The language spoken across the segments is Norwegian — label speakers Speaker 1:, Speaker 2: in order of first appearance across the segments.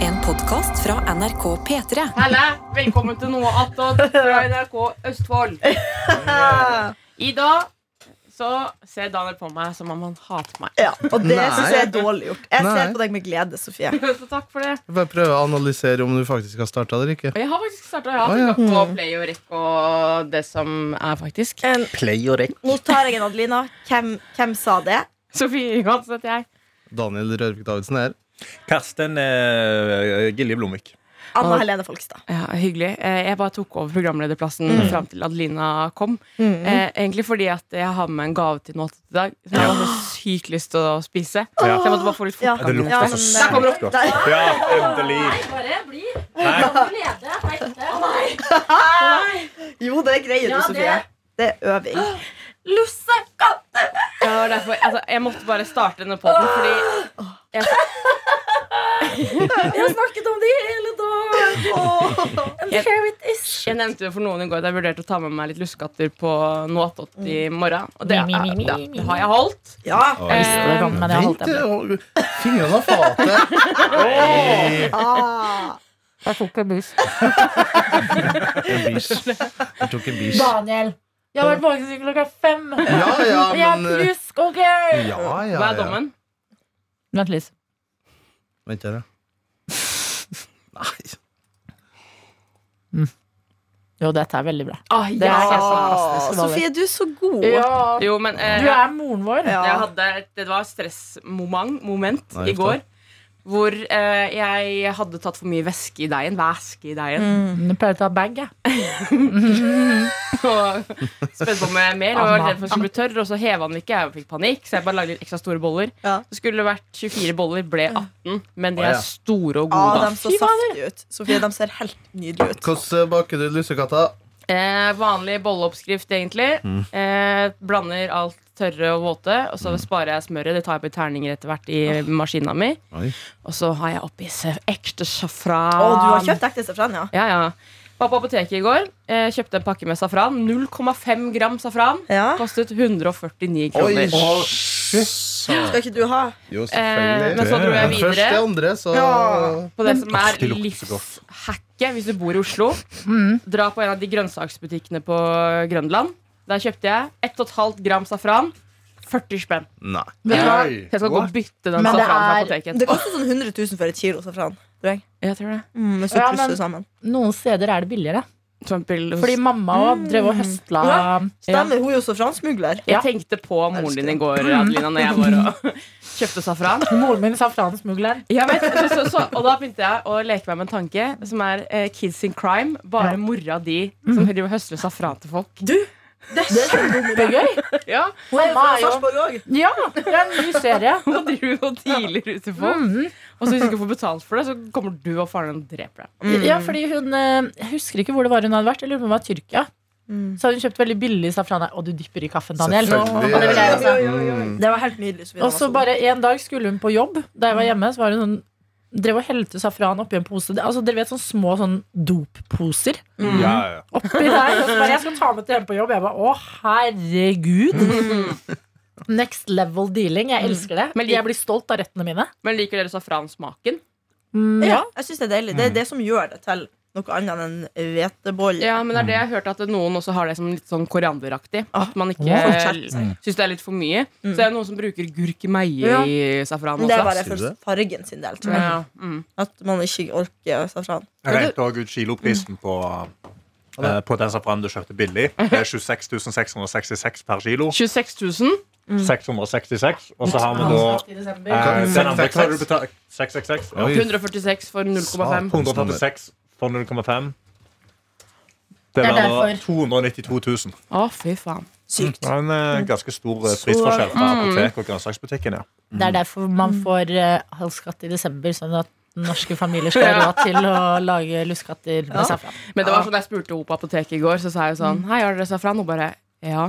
Speaker 1: En podkast fra NRK P3.
Speaker 2: Helle, velkommen til noe attåt fra NRK Østfold. I dag så ser Daniel på meg som om han hater meg.
Speaker 3: Ja, og det
Speaker 4: Nei.
Speaker 3: synes jeg er dårlig gjort. Jeg
Speaker 4: Nei.
Speaker 3: ser på deg med glede, Sofie.
Speaker 2: Så takk for det.
Speaker 4: Bare prøve å analysere om du faktisk har starta eller ikke.
Speaker 2: Og jeg har faktisk starta. Jeg har
Speaker 4: Å, ja.
Speaker 2: trykket på play og rekk og det som er, faktisk.
Speaker 3: En,
Speaker 5: Play og rekk.
Speaker 3: nå tar jeg en Adelina. Hvem, hvem sa det?
Speaker 2: Sofie Johans heter jeg.
Speaker 4: Daniel Rørvik Davidsen er
Speaker 5: Karsten eh, Gilje Blomvik.
Speaker 3: Anna
Speaker 2: Ah.
Speaker 3: Helene Folkstad.
Speaker 2: Ja, hyggelig. Eh, Jeg bare tok over programlederplassen fram til Adelina kom. Eh, Egentlig fordi at jeg har med en gave til noe attåt i dag som jeg har så sykt lyst til å spise.
Speaker 5: Ja.
Speaker 2: Så jeg måtte bare få litt
Speaker 3: Ja.
Speaker 2: fortgang.
Speaker 5: lukter
Speaker 3: men,
Speaker 5: så altså.
Speaker 3: eh,
Speaker 5: sykt
Speaker 2: kommer
Speaker 5: godt.
Speaker 3: der-
Speaker 5: Ja, endelig.
Speaker 6: Bare bli.
Speaker 5: Nei.
Speaker 6: Kan du lede? Nei, ikke.
Speaker 3: Jo, det greier
Speaker 6: Ja,
Speaker 3: du, Sofie.
Speaker 6: det-
Speaker 3: Det er øving.
Speaker 2: Ja, det var derfor, altså, jeg måtte bare starte denne podden fordi jeg
Speaker 3: Vi har snakket om det hele dagen!
Speaker 2: Jeg nevnte det for noen i går at jeg vurderte å ta med meg litt lussekatter på noe attåt i
Speaker 6: Mm.
Speaker 2: morgen. Og det, er, ja, det har jeg holdt.
Speaker 3: Ja.
Speaker 2: Eh,
Speaker 6: Men jeg har holdt den.
Speaker 4: Vent, å, fingrene av fatet!
Speaker 3: Ah.
Speaker 2: jeg tok en buss.
Speaker 4: En bisj. Jeg tok en bisj.
Speaker 6: Daniel. Jeg har vært våken siden klokka fem.
Speaker 4: Ja,
Speaker 6: Og jeg
Speaker 4: ja,
Speaker 6: har
Speaker 4: men eh,
Speaker 6: plusskoker.
Speaker 4: ja, ja,
Speaker 2: Hva er
Speaker 4: ja.
Speaker 2: dommen?
Speaker 6: Vent litt.
Speaker 4: Vent her, ja. Nei.
Speaker 6: Jo, dette er veldig bra.
Speaker 2: Ah,
Speaker 6: Det er
Speaker 2: yes.
Speaker 6: helt
Speaker 3: Ah,
Speaker 6: fantastisk.
Speaker 3: Sofie, du er så god.
Speaker 2: Jo, men eh,
Speaker 6: Du er moren vår.
Speaker 2: jeg
Speaker 3: Ja.
Speaker 2: hadde, et- Det var et stressmoment moment
Speaker 4: Nei,
Speaker 2: i
Speaker 4: uff da.
Speaker 2: går hvor eh, jeg hadde tatt for mye væske i deigen. Væske i deigen.
Speaker 6: Jeg Mm. pleier å ta bag, jeg.
Speaker 2: Og spent på med mel og var redd for at den skulle bli tørr, og så heva den ikke. Jeg fikk panikk, så jeg bare lagde litt ekstra store boller.
Speaker 3: Ja.
Speaker 2: Det skulle det vært 24 boller, ble 18, men de
Speaker 4: Å, ja.
Speaker 2: er store og
Speaker 3: Ah,
Speaker 2: gode.
Speaker 3: de så saftige ut. Sofie, de ser helt nydelige ut.
Speaker 4: Hvordan baker du lussekatta?
Speaker 2: Eh, vanlig bolleoppskrift, egentlig. Eh, blander alt tørre og våte, og så sparer jeg smøret. Det tar jeg på i terninger etter hvert i maskina mi.
Speaker 4: Oi.
Speaker 2: Og så har jeg oppi se- ekte
Speaker 3: Å,
Speaker 2: safran.
Speaker 3: du har kjøpt ekte safran, ja?
Speaker 2: Ja, ja. Var på apoteket i går, eh, kjøpte en pakke med safran. 0,5 gram safran.
Speaker 3: Ja.
Speaker 2: Kostet 149
Speaker 4: Oi,
Speaker 2: kroner.
Speaker 3: Skal ikke du ha?
Speaker 4: Jo,
Speaker 2: Eh, men
Speaker 4: selvfølgelig.
Speaker 2: så dro jeg
Speaker 4: Først det
Speaker 2: videre
Speaker 4: andre, så
Speaker 3: Ja.
Speaker 2: på det som er
Speaker 5: det lukter så godt.
Speaker 2: livshacket hvis du bor i Oslo.
Speaker 6: Mm.
Speaker 2: Dra på en av de grønnsaksbutikkene på Grønland. Der kjøpte jeg 1,5 gram safran. 40 spenn.
Speaker 4: Nei.
Speaker 6: Vet du hva?
Speaker 2: Jeg skal gå og bytte den
Speaker 6: Men det
Speaker 2: safranen fra
Speaker 6: er-
Speaker 2: apoteket.
Speaker 3: Det koster sånn 100 000 for et kilo safran.
Speaker 2: Jeg tror det.
Speaker 3: Mm, hvis du
Speaker 6: Ja,
Speaker 3: plusser
Speaker 6: men-
Speaker 3: sammen.
Speaker 6: Noen steder er det billigere.
Speaker 2: For eksempel hos-
Speaker 6: Fordi mamma også drev og høstla
Speaker 2: Ja.
Speaker 3: Ja. Stemmer, hun er jo safransmugler.
Speaker 2: jeg tenkte på moren din i går, Adelina, når jeg var og kjøpte safran.
Speaker 6: Moren min, safransmugleren.
Speaker 2: Jeg vet, så, så, så, og da begynte jeg å leke meg med en tanke som er eh, Kids in Crime. Bare
Speaker 6: Ja. Mm.
Speaker 2: mora di som driver og høster safran til folk.
Speaker 3: Det er kjempegøy!
Speaker 2: Ja,
Speaker 6: Mamma er jo Ja, det er en ny serie.
Speaker 2: Hva driver du og dealer ut til folk? Og så hvis du ikke får betalt for det, så kommer du og faren din og dreper deg.
Speaker 6: Ja, fordi hun eh, jeg husker ikke hvor det var hun hadde vært. Eller om det var Tyrkia.
Speaker 3: Mm.
Speaker 6: Så hadde hun kjøpt veldig billig safran. Og du dypper i kaffen, Daniel.
Speaker 4: Selvfølgelig.
Speaker 6: Og det vil jeg også.
Speaker 3: Det var helt nydelig. Sofie.
Speaker 6: Mm. Og så bare en dag skulle hun på jobb. Da jeg var hjemme, så var hun sånn Drev og helte safran oppi en pose. Det- Altså, dere vet sånne små sånn dopposer
Speaker 5: Ja, ja.
Speaker 6: oppi der. Og så bare, jeg skal ta med til hjem på jobb. Jeg bare, å herregud. Next level dealing. Jeg elsker det.
Speaker 2: Men
Speaker 6: Men
Speaker 2: lik-
Speaker 6: jeg blir stolt av rettene mine.
Speaker 2: Men liker dere safransmaken?
Speaker 6: Mm,
Speaker 3: Ja,
Speaker 6: ja. Mm.
Speaker 3: jeg synes det er deilig. Det er det som gjør det til noe annet enn hvetebolle.
Speaker 2: Ja, men det er det jeg har hørt at noen også har det som litt sånn korianderaktig. At man ikke
Speaker 3: Åh, kjært.
Speaker 6: Mm.
Speaker 2: syns det er litt for mye. Så det er noen som bruker gurkemeie
Speaker 3: Ja.
Speaker 2: i safran
Speaker 3: Men Det
Speaker 2: også.
Speaker 3: er bare
Speaker 4: Sier du
Speaker 3: for
Speaker 4: det?
Speaker 3: fargen sin del, tror jeg.
Speaker 2: Ja, mm.
Speaker 3: At man ikke orker safran.
Speaker 5: Jeg regnet òg ut kiloprisen på, eh, på den safranen du kjøpte billig. Det er 26 666 per kilo.
Speaker 2: 26 000.
Speaker 5: 666. Og så har vi da eh, den andre hva har du betalt? 666. Ja.
Speaker 4: Oi.
Speaker 2: 146 for 0,5.
Speaker 5: 146 for 0,5. Det
Speaker 6: Det er
Speaker 5: var da
Speaker 6: derfor.
Speaker 5: 292 000.
Speaker 2: Å, fy faen.
Speaker 3: Sykt.
Speaker 5: Det var en eh, ganske stor eh, prisforskjell fra apotek og grønnsaksbutikken. Ja.
Speaker 6: Det er derfor man får eh, halv skatt i desember, sånn at norske familier skal ha råd til å lage lussekatter med safran.
Speaker 2: Men det var sånn jeg spurte henne på apoteket i går, så sa jeg sånn
Speaker 3: Mm.
Speaker 2: Hei, har dere safran? Hun bare Ja.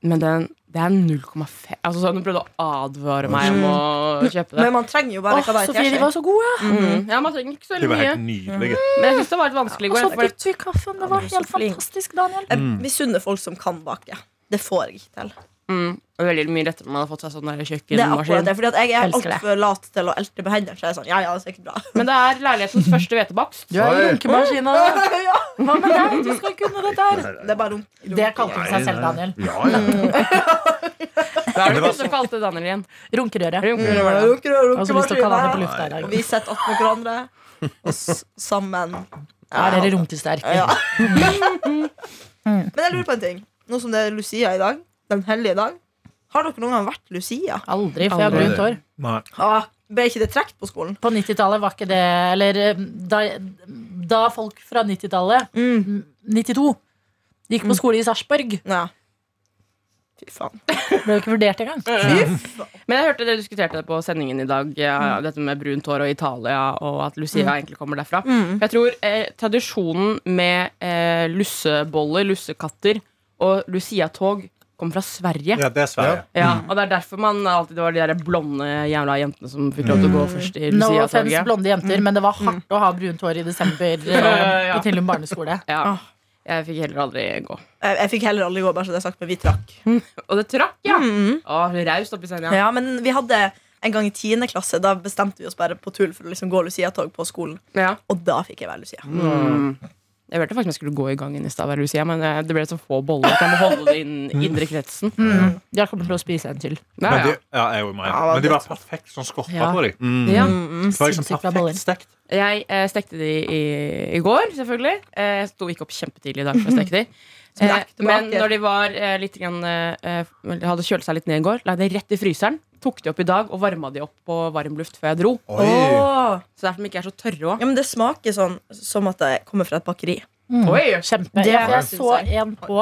Speaker 2: Men den, det er 0,5 Altså sånn, Hun prøvde å advare meg om å kjøpe det.
Speaker 3: Mm. Men man trenger jo bare
Speaker 6: Åh,
Speaker 3: hva det
Speaker 6: Sofie, de var så gode!
Speaker 2: Mm. Ja, Man trenger ikke så
Speaker 5: De
Speaker 2: veldig
Speaker 5: var
Speaker 2: mye.
Speaker 5: helt nydelige.
Speaker 2: Men jeg syns det var litt vanskelig i
Speaker 6: Og
Speaker 2: går.
Speaker 6: så
Speaker 2: for-
Speaker 6: dypper vi kaffen. Det var
Speaker 3: så
Speaker 6: helt
Speaker 3: flink.
Speaker 6: fantastisk, Daniel.
Speaker 3: Jeg misunner folk som kan bake. Det får jeg ikke til.
Speaker 2: Mm, det er veldig mye lettere når man har fått seg sånn der
Speaker 3: Det er akkurat
Speaker 2: kjøkkenmaskin.
Speaker 3: det, fordi at jeg er
Speaker 6: Elsker det.
Speaker 3: altfor lat til å elte på hendene. Så jeg er sånn, ja, ja, det er sikkert bra.
Speaker 2: Men det er leilighetens første hvetebakst.
Speaker 6: Du er
Speaker 4: Oi.
Speaker 6: runkemaskina.
Speaker 3: ja,
Speaker 6: Hva med deg? Du skal kunne dette her.
Speaker 3: det er bare rom.
Speaker 6: Det kalte hun seg selv, Daniel.
Speaker 4: Ja, ja.
Speaker 2: Da er det
Speaker 5: Det var
Speaker 2: du som kalte Daniel igjen.
Speaker 6: Runkerøre.
Speaker 2: Runker.
Speaker 3: Runker, runker, runker,
Speaker 6: Og så lyst til å kalle han det
Speaker 3: maskinen.
Speaker 6: på lufta i
Speaker 3: Og
Speaker 6: dag.
Speaker 3: vi sitter attmed hverandre, og s sammen.
Speaker 6: Ja, dere runkesterke.
Speaker 3: Ja. Mm. Men jeg lurer på en ting. Nå som det er Lucia i dag, den hellige dag, har dere noen gang vært Lucia?
Speaker 6: Aldri, for jeg har
Speaker 2: Aldri.
Speaker 6: brunt hår.
Speaker 5: Nei.
Speaker 3: Ah, ble ikke det trukket på skolen?
Speaker 6: På 90-tallet var ikke det Eller eh, da, da folk fra 90-tallet,
Speaker 3: Mm.
Speaker 6: mm, 92, gikk på skole i Sarpsborg,
Speaker 3: Ja. Fy faen.
Speaker 6: ble jo ikke vurdert engang.
Speaker 2: Men jeg hørte dere diskuterte det på sendingen i dag, ja, dette med brunt hår og Italia, og at Lucia egentlig kommer derfra. For Jeg tror eh, tradisjonen med eh, lusseboller, lussekatter og Lucia-tog kommer fra Sverige. Ja.
Speaker 5: Ja, det er Sverige.
Speaker 2: og det er derfor man alltid det var de der blonde jævla jentene som fikk lov til å gå først i
Speaker 6: No offense
Speaker 2: Lucia-toget.
Speaker 6: blonde jenter, men det var hardt å ha brunt hår i desember eh,
Speaker 2: Ja.
Speaker 6: på Tillum barneskole.
Speaker 2: Ja. Jeg fikk heller aldri gå.
Speaker 3: Jeg, jeg fikk heller aldri gå, bare så det er sagt, men vi trakk.
Speaker 2: Og det trakk, ja! Å, raust oppi senga.
Speaker 3: Ja, men vi hadde en gang i 10. klasse, da bestemte vi oss bare på tull for å liksom gå Lucia-tog på skolen.
Speaker 2: Ja.
Speaker 3: Og da fikk jeg være Lucia.
Speaker 2: Mm. Jeg hørte faktisk jeg skulle gå i gangen i stad, hva Lucia, men eh, det ble så få boller at jeg må holde det innen indre kretsen.
Speaker 6: Mm. Jeg kommer til å spise en til.
Speaker 2: Ja,
Speaker 5: Men
Speaker 2: ja.
Speaker 5: de, ja, jeg er jo med.
Speaker 3: Ja,
Speaker 5: Men de
Speaker 3: det-
Speaker 5: var perfekt sånn skorpa
Speaker 2: Ja. Mm.
Speaker 5: på dem.
Speaker 2: Ja.
Speaker 3: Mm.
Speaker 5: Det var liksom
Speaker 6: Sinnssykt bra boller.
Speaker 5: perfekt stekt.
Speaker 2: Jeg eh, stekte de i, i går, selvfølgelig. Eh, Jeg sto ikke opp kjempetidlig i dag for å steke de.
Speaker 3: Som en
Speaker 2: Eh,
Speaker 3: ekte
Speaker 2: Men
Speaker 3: baker.
Speaker 2: når de var eh, litt grann, eh, eh, hadde kjølt seg litt ned i går, la jeg det rett i fryseren. Tok de opp i dag og varma de opp på varm luft før jeg dro.
Speaker 5: Oi.
Speaker 3: Åh.
Speaker 2: Så derfor de ikke er så tørre òg.
Speaker 3: Ja, men det smaker sånn som at det kommer fra et bakeri.
Speaker 2: Oi!
Speaker 6: Kjempe.
Speaker 3: Det
Speaker 6: ja, for jeg
Speaker 3: syns
Speaker 6: så
Speaker 3: jeg.
Speaker 6: en på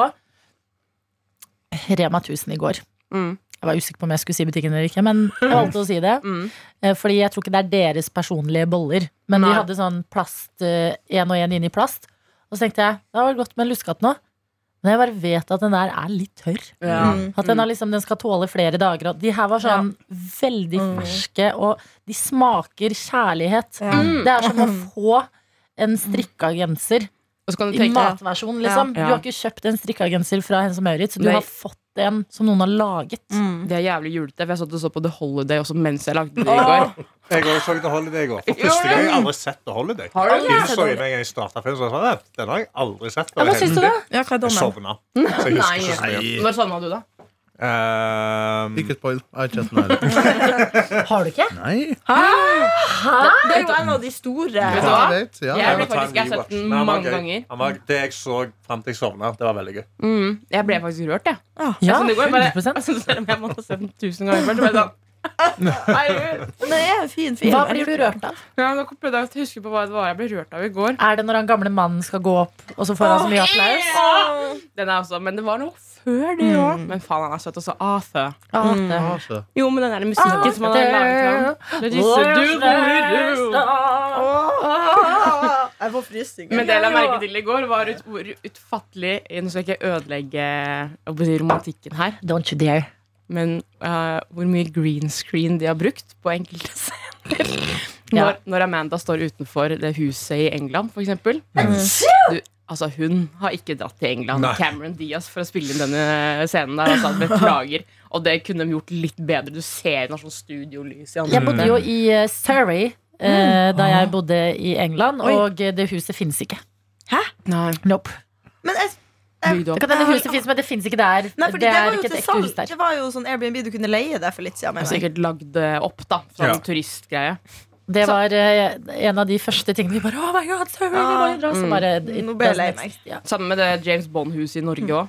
Speaker 6: Rema 1000 i går.
Speaker 2: Mm.
Speaker 6: Jeg var usikker på om jeg skulle si butikken eller ikke, men jeg valgte å si det.
Speaker 2: Mm.
Speaker 6: Eh, Fordi jeg tror ikke det er deres personlige boller. Men
Speaker 2: Nei.
Speaker 6: de hadde sånn plast én og én inni plast. Og så tenkte jeg det var godt med en lussekatt nå. Men jeg bare vet at den der er litt tørr.
Speaker 2: Ja.
Speaker 3: Mm.
Speaker 6: At den, har liksom, den skal tåle flere dager. Og de her var sånn veldig
Speaker 3: Mm.
Speaker 6: ferske, og de smaker kjærlighet.
Speaker 3: Ja.
Speaker 6: Det er som å få en strikka genser
Speaker 2: Og så kan du
Speaker 6: i
Speaker 2: tenke
Speaker 6: matversjon, liksom.
Speaker 2: Ja.
Speaker 6: Du har ikke kjøpt en strikka genser fra Hennes og Maurits, du
Speaker 2: Nei. Mm.
Speaker 6: har fått en som noen har laget.
Speaker 2: Det er jævlig julete, for jeg satt og så på The Holiday også mens jeg lagde det i går.
Speaker 5: Jeg også så The Holiday i går. For
Speaker 2: Gjorde
Speaker 5: første gang jeg
Speaker 2: du?
Speaker 5: har aldri sett The Holiday.
Speaker 2: Har du
Speaker 5: Filmen så jeg med en gang jeg startet filmen, så jeg sa, "Nei, den har jeg aldri sett.
Speaker 6: Ja, hva syns du da?
Speaker 3: Ja, hva er
Speaker 5: Jeg
Speaker 3: dommen?
Speaker 5: sovna. Så jeg husker ikke så
Speaker 4: Nei.
Speaker 5: mye.
Speaker 2: Når sovna du, da?
Speaker 5: Ehm,
Speaker 4: Ikke spoil. Jeg har ikke sett den heller.
Speaker 6: Har du ikke?
Speaker 4: Nei.
Speaker 3: Det er jo en av de store.
Speaker 2: Vet du
Speaker 4: Ja,
Speaker 2: hva?
Speaker 4: jeg vet. Ja,
Speaker 2: Jeg ble
Speaker 5: må ta en
Speaker 2: faktisk, jeg har sett
Speaker 5: rewatch.
Speaker 2: den
Speaker 5: Men han var
Speaker 2: mange
Speaker 5: gøy.
Speaker 2: ganger.
Speaker 5: Han var, det jeg så fram til jeg sovna, det var veldig gøy.
Speaker 2: Mm. Jeg ble faktisk rørt, jeg.
Speaker 6: Ja,
Speaker 2: det går, jeg bare-
Speaker 6: 100
Speaker 2: Altså, selv om jeg måtte se den tusen ganger før, så ble jeg sånn Herregud.
Speaker 3: Men Det er en fin film.
Speaker 6: Hva blir du rørt av?
Speaker 2: Ja, nå prøvde jeg å huske på hva det var jeg ble rørt av i går.
Speaker 6: Er det når han gamle mannen skal gå opp, og så får han så mye applaus?
Speaker 2: Den er også, men det var noe før det òg. Men faen, han er søt også. Ah, fø.
Speaker 6: Ah, det-
Speaker 4: Ja, altså.
Speaker 2: Jo, men den der musikken som han har laget til ham. Det disse du, du, du.
Speaker 3: Jeg får frysninger.
Speaker 2: Men det jeg la merke til i går, var ut, hvor utfattelig Nå skal jeg ikke ødelegge jeg håper å si, romantikken her,
Speaker 6: Don't you dare.
Speaker 2: men eh, hvor mye green screen de har brukt på enkelte scener.
Speaker 6: Ja.
Speaker 2: Når, når Amanda står utenfor det huset i England, for eksempel. Du, altså, hun har ikke dratt til England.
Speaker 5: Mm. Nei.
Speaker 2: Cameron Diaz for å spille inn denne scenen der. Altså, beklager. Og det kunne de gjort litt bedre. Du ser hun har sånn studiolys i
Speaker 6: Jeg bodde
Speaker 2: ansiktet.
Speaker 6: jo i eh, Surrey. eh, da jeg bodde i England,
Speaker 3: Oi.
Speaker 6: og eh, det huset fins ikke.
Speaker 2: Nei,
Speaker 6: Nope.
Speaker 3: Men jeg,
Speaker 2: bygd
Speaker 6: Det
Speaker 2: opp.
Speaker 6: kan hende huset finnes, men det fins ikke der.
Speaker 3: nei, fordi
Speaker 6: det er
Speaker 3: var jo
Speaker 6: ikke et
Speaker 3: til
Speaker 6: ekte
Speaker 3: salg.
Speaker 6: hus der.
Speaker 3: Det var jo sånn Airbnb du kunne leie der for litt siden.
Speaker 2: Og
Speaker 3: Mener jeg.
Speaker 2: Sikkert lagd eh, opp, da. Sånn
Speaker 5: Ja.
Speaker 2: turistgreie.
Speaker 6: Det var eh, en av de første tingene vi bare Oh my god, Surrey! Vi må jo dra. Så bare it
Speaker 3: Ah, mm. Nå ble jeg
Speaker 6: doesn't
Speaker 3: lei meg.
Speaker 6: exist. Ja.
Speaker 2: Sammen med det James Bond-huset i Norge òg.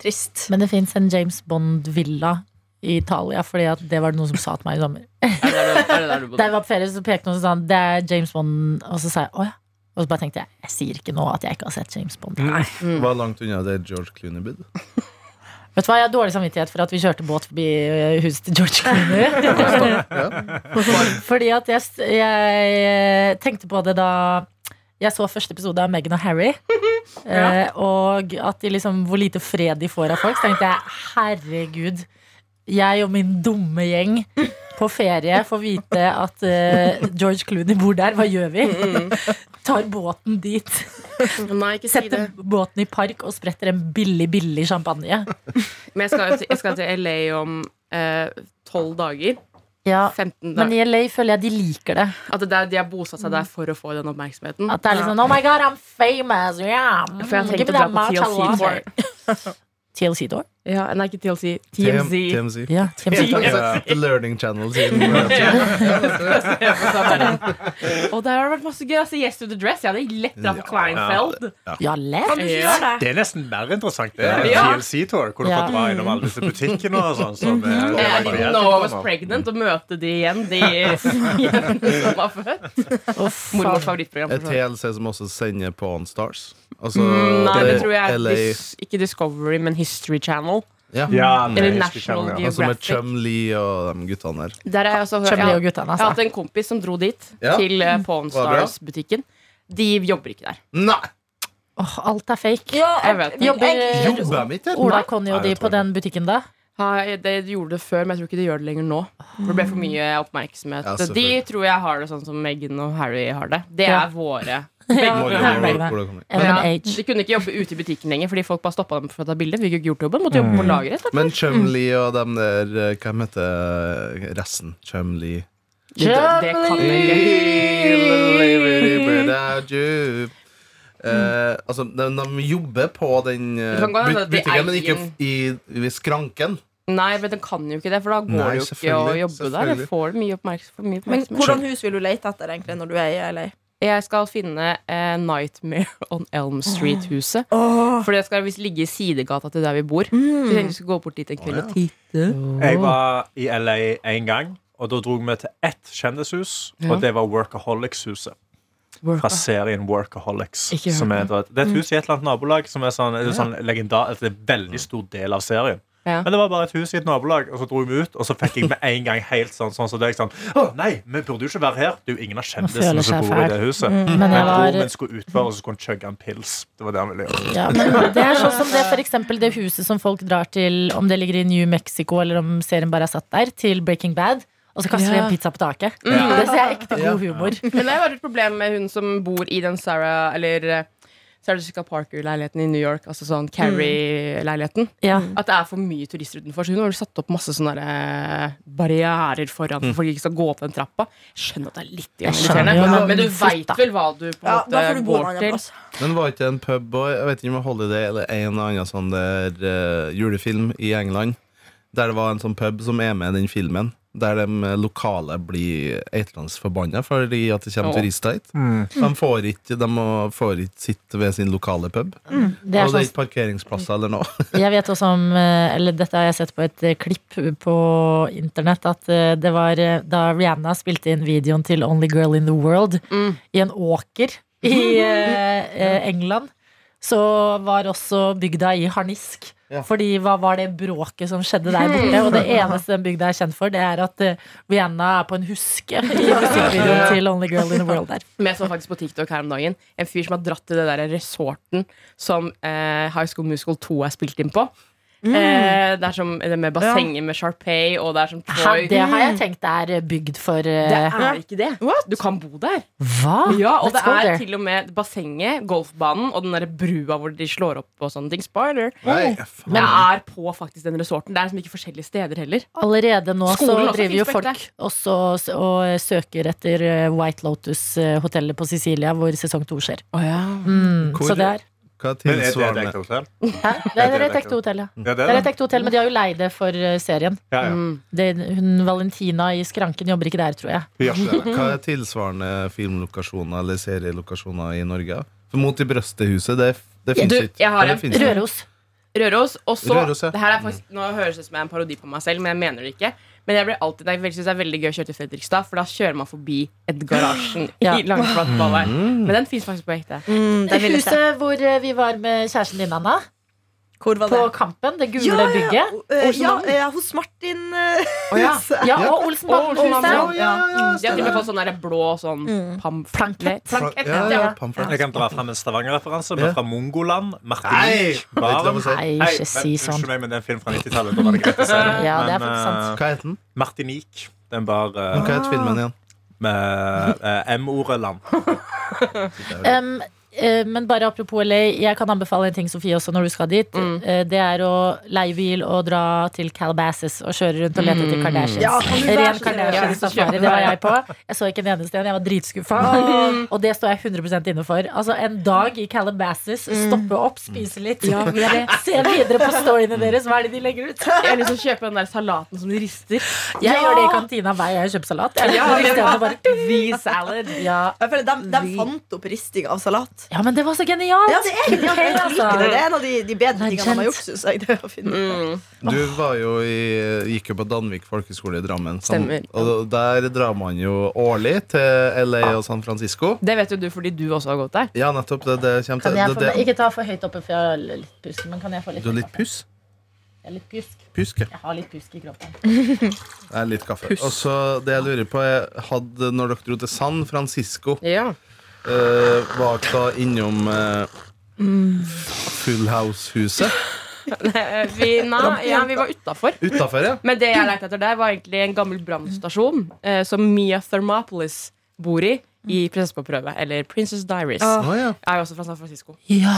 Speaker 3: Trist.
Speaker 6: Men det fins en James Bond-villa i Italia, Fordi at det var det noen som sa til meg i sommer.
Speaker 2: Er det der du- er det der du
Speaker 6: Da
Speaker 2: bodde?
Speaker 6: jeg var på ferie, så pekte noen og sa han, det er James Bond, og så sa jeg å ja. Og så bare tenkte jeg jeg sier ikke nå at jeg ikke har sett James Bond.
Speaker 3: Mm.
Speaker 4: Var langt unna det George Clooney bodde.
Speaker 6: Vet du hva, Jeg har dårlig samvittighet for at vi kjørte båt forbi eh, huset til George Clooney. Fordi at jeg, s- jeg eh, tenkte på det da jeg så første episode av Meghan og Harry. eh, Og at de liksom, hvor lite fred de får av folk. Så tenkte jeg herregud, jeg og min dumme gjeng på ferie får vite at eh, George Clooney bor der. Hva gjør vi? Tar båten dit.
Speaker 2: Nei, ikke si det.
Speaker 6: Setter båten i park og spretter en billig, billig champagne.
Speaker 2: Men jeg skal, til- jeg skal til LA om eh, tolv dager.
Speaker 6: Ja,
Speaker 2: 15
Speaker 6: men
Speaker 2: dager.
Speaker 6: i LA føler jeg de liker det.
Speaker 2: At det der, de har bosatt seg der for å få den oppmerksomheten.
Speaker 6: At det er litt sånn Oh my god, I'm famous! Yeah. Mm,
Speaker 2: For jeg
Speaker 6: give
Speaker 2: tenkte å
Speaker 6: me
Speaker 2: dra
Speaker 6: that
Speaker 2: på
Speaker 6: marshmallow.
Speaker 2: TLC Door.
Speaker 6: TLC Door?
Speaker 2: Ja, nei, ikke TLC.
Speaker 4: TM-
Speaker 2: TMZ.
Speaker 4: TMZ.
Speaker 6: Ja, TLC Door.
Speaker 4: The Learning Channel siden eh,
Speaker 2: Og der har det vært masse gøy. Altså, yes to the dress. Jeg hadde lett dratt på
Speaker 4: Ja.
Speaker 2: Kleinfeld.
Speaker 6: Ja, lett.
Speaker 2: Ja.
Speaker 5: Det er nesten mer interessant det enn
Speaker 2: Ja. Mm.
Speaker 5: TLC-tour, hvor du
Speaker 6: Ja.
Speaker 5: får dra innom alle disse butikkene og sånn. Som, eh,
Speaker 2: I
Speaker 5: bare-
Speaker 2: didn't know I was pregnant, og møte de igjen, de jentene som var født. Mormors favorittprogram.
Speaker 4: Et
Speaker 2: for sånn.
Speaker 4: TLC som også sender på On Stars. Altså,
Speaker 2: Mm, Nei, det
Speaker 4: er
Speaker 2: tror jeg er
Speaker 4: LA
Speaker 2: dis ikke Discovery, men History Channel.
Speaker 4: ja.
Speaker 5: Ja, nei,
Speaker 2: Eller
Speaker 5: jeg husker
Speaker 2: National
Speaker 5: ikke hva det var.
Speaker 4: Altså med
Speaker 2: Geographic.
Speaker 4: Chum Lee og de guttene der.
Speaker 2: Der har jeg også hørt
Speaker 6: Chumley og
Speaker 2: Jeg
Speaker 6: guttene,
Speaker 2: har hatt
Speaker 6: altså.
Speaker 2: en kompis som dro dit,
Speaker 4: Ja.
Speaker 2: til eh, Pawn
Speaker 4: Var det bra?
Speaker 2: Stars-butikken. De jobber ikke der.
Speaker 4: Nei!
Speaker 6: Åh, alt er fake.
Speaker 3: Ja,
Speaker 2: Jeg vet ikke.
Speaker 6: Jobber
Speaker 4: Jobba mitt, jeg.
Speaker 6: Ola, Conny
Speaker 4: Nei,
Speaker 6: og de
Speaker 4: jeg tror
Speaker 6: på den butikken da?
Speaker 2: Har- De gjorde det før, men jeg tror ikke de gjør det lenger nå. For Det ble for mye oppmerksomhet.
Speaker 4: Ja,
Speaker 2: de
Speaker 4: selvfølgelig.
Speaker 2: tror jeg har det sånn som Meghan og Harry har det. Det
Speaker 6: Ja.
Speaker 2: er våre.
Speaker 4: Morgan
Speaker 6: Her
Speaker 4: og
Speaker 6: ble det.
Speaker 4: Ola kommer.
Speaker 6: Ellen
Speaker 2: Ja,
Speaker 6: H.
Speaker 2: De kunne ikke jobbe ute i butikken lenger fordi folk bare stoppa dem for å ta bilder. Fikk jo ikke gjort jobben, måtte jobbe på lageret. da.
Speaker 4: Men Chum Lee og dem der eh, Hvem heter eh, resten? Chum Lee
Speaker 2: Det, det kan jeg
Speaker 4: Without you. Eh, altså, de, de jobber på den eh,
Speaker 2: Det kan gå an at
Speaker 4: but-
Speaker 2: de
Speaker 4: butikken, men ikke
Speaker 2: eier-
Speaker 4: i, i skranken.
Speaker 2: Nei, men den kan jo ikke det, for da går
Speaker 4: Nei,
Speaker 2: det jo ikke å
Speaker 4: selvfølgelig,
Speaker 2: jobbe der.
Speaker 4: selvfølgelig.
Speaker 2: Jeg får det mye oppmerks- for mye
Speaker 3: Men
Speaker 2: oppmerksomhet.
Speaker 3: hvordan hus vil du lete etter egentlig når du er i LA?
Speaker 2: Jeg skal finne eh, Nightmare on Elm Street-huset. For det skal visst ligge i sidegata til der vi bor. Så jeg tenkte vi skulle gå bort dit en kveld og titte.
Speaker 5: Jeg var i LA en gang, og da dro vi til ett kjendishus, og det var Workaholics-huset. Fra serien Workaholics.
Speaker 2: Ikke hørt
Speaker 5: Som er, det
Speaker 6: Mm.
Speaker 5: er et hus i et eller annet nabolag som er sånn, det er sånn legenda- altså, det er en veldig stor del av serien.
Speaker 2: Ja.
Speaker 5: Men det var bare et hus i et nabolag, og så dro vi ut, og så fikk jeg med en gang helt sånn sånn som deg. Sånn, Å, nei, vi burde jo ikke være her. Det er jo ingen av
Speaker 6: føler
Speaker 5: kjendisene som
Speaker 6: seg
Speaker 5: bor i
Speaker 6: fæl. Mm.
Speaker 5: det huset.
Speaker 6: Men jeg
Speaker 5: Men
Speaker 6: var-
Speaker 5: broren min skulle utfor, og så skulle han chugge en pils. Det var det han ville gjøre.
Speaker 6: Ja, men det er sånn som det for eksempel det huset som folk drar til, om det ligger i New Mexico eller om serien bare er satt der, til Breaking Bad. Og så kaster de en pizza på taket. Det ser jeg ekte god humor.
Speaker 2: Men det har vært et problem med hun som bor i den Sarah Eller eh, Sarah Jessica Parker-leiligheten i New York. Altså sånn Carrie-leiligheten.
Speaker 6: Ja.
Speaker 2: At det er for mye turister utenfor. Så hun har vel satt opp masse sånne der, eh, barrierer foran
Speaker 3: Mm.
Speaker 2: for folk ikke skal gå opp den trappa. Skjønner at det er litt irriterende,
Speaker 6: skjønner, ja,
Speaker 2: men, du
Speaker 6: men flytt, da.
Speaker 2: veit vel hva du på en
Speaker 3: Ja, da
Speaker 2: måte
Speaker 3: får du bo en
Speaker 2: går
Speaker 3: annen
Speaker 2: til.
Speaker 3: plass.
Speaker 4: Men var ikke det en pub og jeg vet ikke om det var Holiday eller en eller annen sånn der eh, julefilm i England, der det var en sånn pub som er med i den filmen, der de eh, lokale blir eitlandsforbanna fordi at det kommer
Speaker 2: Å.
Speaker 4: turister hit. De får ikke, de må- får ikke sitte ved sin lokale pub.
Speaker 6: Det er
Speaker 4: og det er
Speaker 6: sånn,
Speaker 4: ikke parkeringsplasser eller noe.
Speaker 6: jeg vet også om, eh, eller dette har jeg sett på et eh, klipp på internett, at eh, det var eh, da Rihanna spilte inn videoen til Only Girl in the World
Speaker 2: Mm.
Speaker 6: i en åker i eh, eh, England, så var også bygda i harnisk.
Speaker 4: Ja.
Speaker 6: Fordi hva var det bråket som skjedde der borte? Og det eneste den bygda er kjent for, det er at eh, Rihanna er på en huske i musikkvideoen til Only Girl in the World der.
Speaker 2: Men jeg så faktisk på TikTok her om dagen en fyr som har dratt til det der resorten som eh, High School Musical 2 er spilt inn på. Eh, det er som det med bassenget med Sharpay, og det er som Troy
Speaker 6: Det har jeg tenkt er bygd for eh,
Speaker 2: Det er ikke det. Ah, Du kan bo der.
Speaker 6: Hva?
Speaker 2: Ja, og
Speaker 6: Let's
Speaker 2: det
Speaker 6: go
Speaker 2: er
Speaker 6: there.
Speaker 2: til og med bassenget, golfbanen og den der brua hvor de slår opp og sånne ting. Spoiler.
Speaker 4: Nei,
Speaker 2: Men det er på faktisk den resorten. Det er liksom ikke forskjellige steder heller.
Speaker 6: Allerede nå så
Speaker 2: Skolen også
Speaker 6: driver jo
Speaker 2: finnes på
Speaker 6: folk
Speaker 2: ekte.
Speaker 6: også s- og søker etter eh, White Lotus-hotellet på Sicilia, hvor sesong to skjer. Mm,
Speaker 4: Hvor-
Speaker 6: så det er
Speaker 4: Hva er
Speaker 5: Men er det et
Speaker 4: tilsvarende?
Speaker 5: ekte hotell?
Speaker 6: Hæ? Det er
Speaker 5: det
Speaker 6: et ekte
Speaker 5: er
Speaker 6: hotell, ja.
Speaker 5: Ja,
Speaker 6: Det er
Speaker 5: det.
Speaker 6: et ekte hotell, men de har jo leid det for eh, serien.
Speaker 5: Ja, ja.
Speaker 6: Det, hun Valentina i Skranken jobber ikke der, tror jeg.
Speaker 5: Vi gjør ikke det.
Speaker 4: Hva er tilsvarende filmlokasjoner eller serielokasjoner i Norge? For Mot i brøstet-huset, det, det fins
Speaker 2: Du,
Speaker 4: ikke.
Speaker 2: jeg har
Speaker 4: Eller
Speaker 2: en.
Speaker 4: finnes det?
Speaker 6: Røros.
Speaker 2: Røros. Og så
Speaker 4: Røros, ja. Mm.
Speaker 2: det her er faktisk, Nå høres det ut som jeg er en parodi på meg selv, men jeg mener det ikke. Men jeg blir alltid, jeg synes det er veldig gøy å kjøre til Fredrikstad, for da kjører man forbi et garasjen
Speaker 6: Ja.
Speaker 2: i Langflat
Speaker 4: Mm.
Speaker 2: Ballvei. Men den fins faktisk på ekte.
Speaker 3: Mm,
Speaker 6: Det huset hvor eh, vi var med kjæresten din, Anna.
Speaker 3: Hvor var det?
Speaker 6: På Kampen. Det gule bygget.
Speaker 3: Eh,
Speaker 2: Olsen
Speaker 3: ja,
Speaker 2: Mann.
Speaker 3: eh, hos Martin eh,
Speaker 2: ja.
Speaker 4: altså.
Speaker 3: huset.
Speaker 6: Ja, og Olsenbanden-huset.
Speaker 2: Olsenbanden. De har til og med fått sånn der blå sånn pamf-
Speaker 6: Mm. Plankett.
Speaker 2: plankett
Speaker 4: Ja,
Speaker 2: sånn ja.
Speaker 4: ja, pamflett.
Speaker 5: Jeg kan dra fram en Stavanger-referanse. Vi
Speaker 4: Ja.
Speaker 5: er fra Mongoland.
Speaker 4: Nei!
Speaker 5: Martinique.
Speaker 4: Det er ikke
Speaker 5: Baren.
Speaker 4: lov å si.
Speaker 6: Nei,
Speaker 5: Hei,
Speaker 6: ikke
Speaker 5: men-
Speaker 6: si sånn.
Speaker 5: Unnskyld meg, men det er en film fra 90-tallet. Da var det greit å si det.
Speaker 6: Ja, det er
Speaker 5: Men,
Speaker 6: faktisk sant.
Speaker 4: Hva heter den?
Speaker 5: eh, Martinique. Den bar eh,
Speaker 4: Hva heter filmen igjen?
Speaker 5: med eh, M-ordet land.
Speaker 6: Um, eh, eh, men bare apropos LA, jeg kan anbefale en ting, Sofie, også når du skal dit.
Speaker 3: Mm.
Speaker 6: Eh, det er å leie bil og dra til Calabasas og kjøre rundt og lete etter
Speaker 3: Mm.
Speaker 6: Kardashians.
Speaker 3: Ja, kan du være så snill?
Speaker 6: Ren
Speaker 2: Ja, så kjøper
Speaker 6: Kardashian-safari,
Speaker 2: du
Speaker 6: det var
Speaker 2: det.
Speaker 6: jeg på. Jeg så ikke en eneste en, jeg var dritskuffa. Og det står jeg 100 inne for. Altså, en dag i Calabasas,
Speaker 3: Mm.
Speaker 6: stoppe opp, spise litt,
Speaker 1: Ja, men jeg,
Speaker 6: se videre på storyene deres, hva er det de legger ut?
Speaker 2: Jeg har lyst til å kjøpe den der salaten som de rister.
Speaker 3: Ja!
Speaker 6: Jeg gjør det i kantina hver gang jeg kjøper salat. Jeg
Speaker 2: Ja,
Speaker 6: rister den og bare,
Speaker 2: salad.
Speaker 6: ja.
Speaker 3: Jeg føler de, de fant opp risting av salat.
Speaker 6: ja, men det var så genialt!
Speaker 3: Ja, det er, genialt.
Speaker 6: Helt,
Speaker 3: jeg
Speaker 6: altså.
Speaker 3: liker det. det er en av de, de bedre
Speaker 6: Legend.
Speaker 3: tingene de har gjort, synes jeg. Det å finne ut.
Speaker 4: Du var jo i, gikk jo på Danvik folkeskole i Drammen. sant?
Speaker 2: Stemmer.
Speaker 4: Og der drar man jo årlig til LA og San Francisco.
Speaker 2: Det vet jo du fordi du også har gått der.
Speaker 4: Ja, nettopp. Det, det kommer
Speaker 6: Kan
Speaker 4: til det-
Speaker 6: jeg få,
Speaker 4: det-
Speaker 6: ikke ta for høyt oppe, for jeg har litt pusk. Men kan jeg få litt,
Speaker 4: Du har litt puss?
Speaker 6: Jeg, er litt pusk.
Speaker 4: Pusk, ja.
Speaker 6: jeg har litt pusk i kroppen.
Speaker 4: Det er litt kaffe. Og så det jeg lurer på, er hadde, når dere dro til San Francisco,
Speaker 2: Ja.
Speaker 4: eh, var dere da innom eh, Full House-huset?
Speaker 2: Vi, nei, ja, vi var utafor.
Speaker 4: Utafor, ja.
Speaker 2: Men det jeg lette etter der, var egentlig en gammel brannstasjon eh, som Mia Thermopolis bor i i Prinsesse på prøve, eller Princess Diaries.
Speaker 3: Ja.
Speaker 4: Å, ja.
Speaker 2: Jeg er jo også fra San Francisco.
Speaker 6: Ja.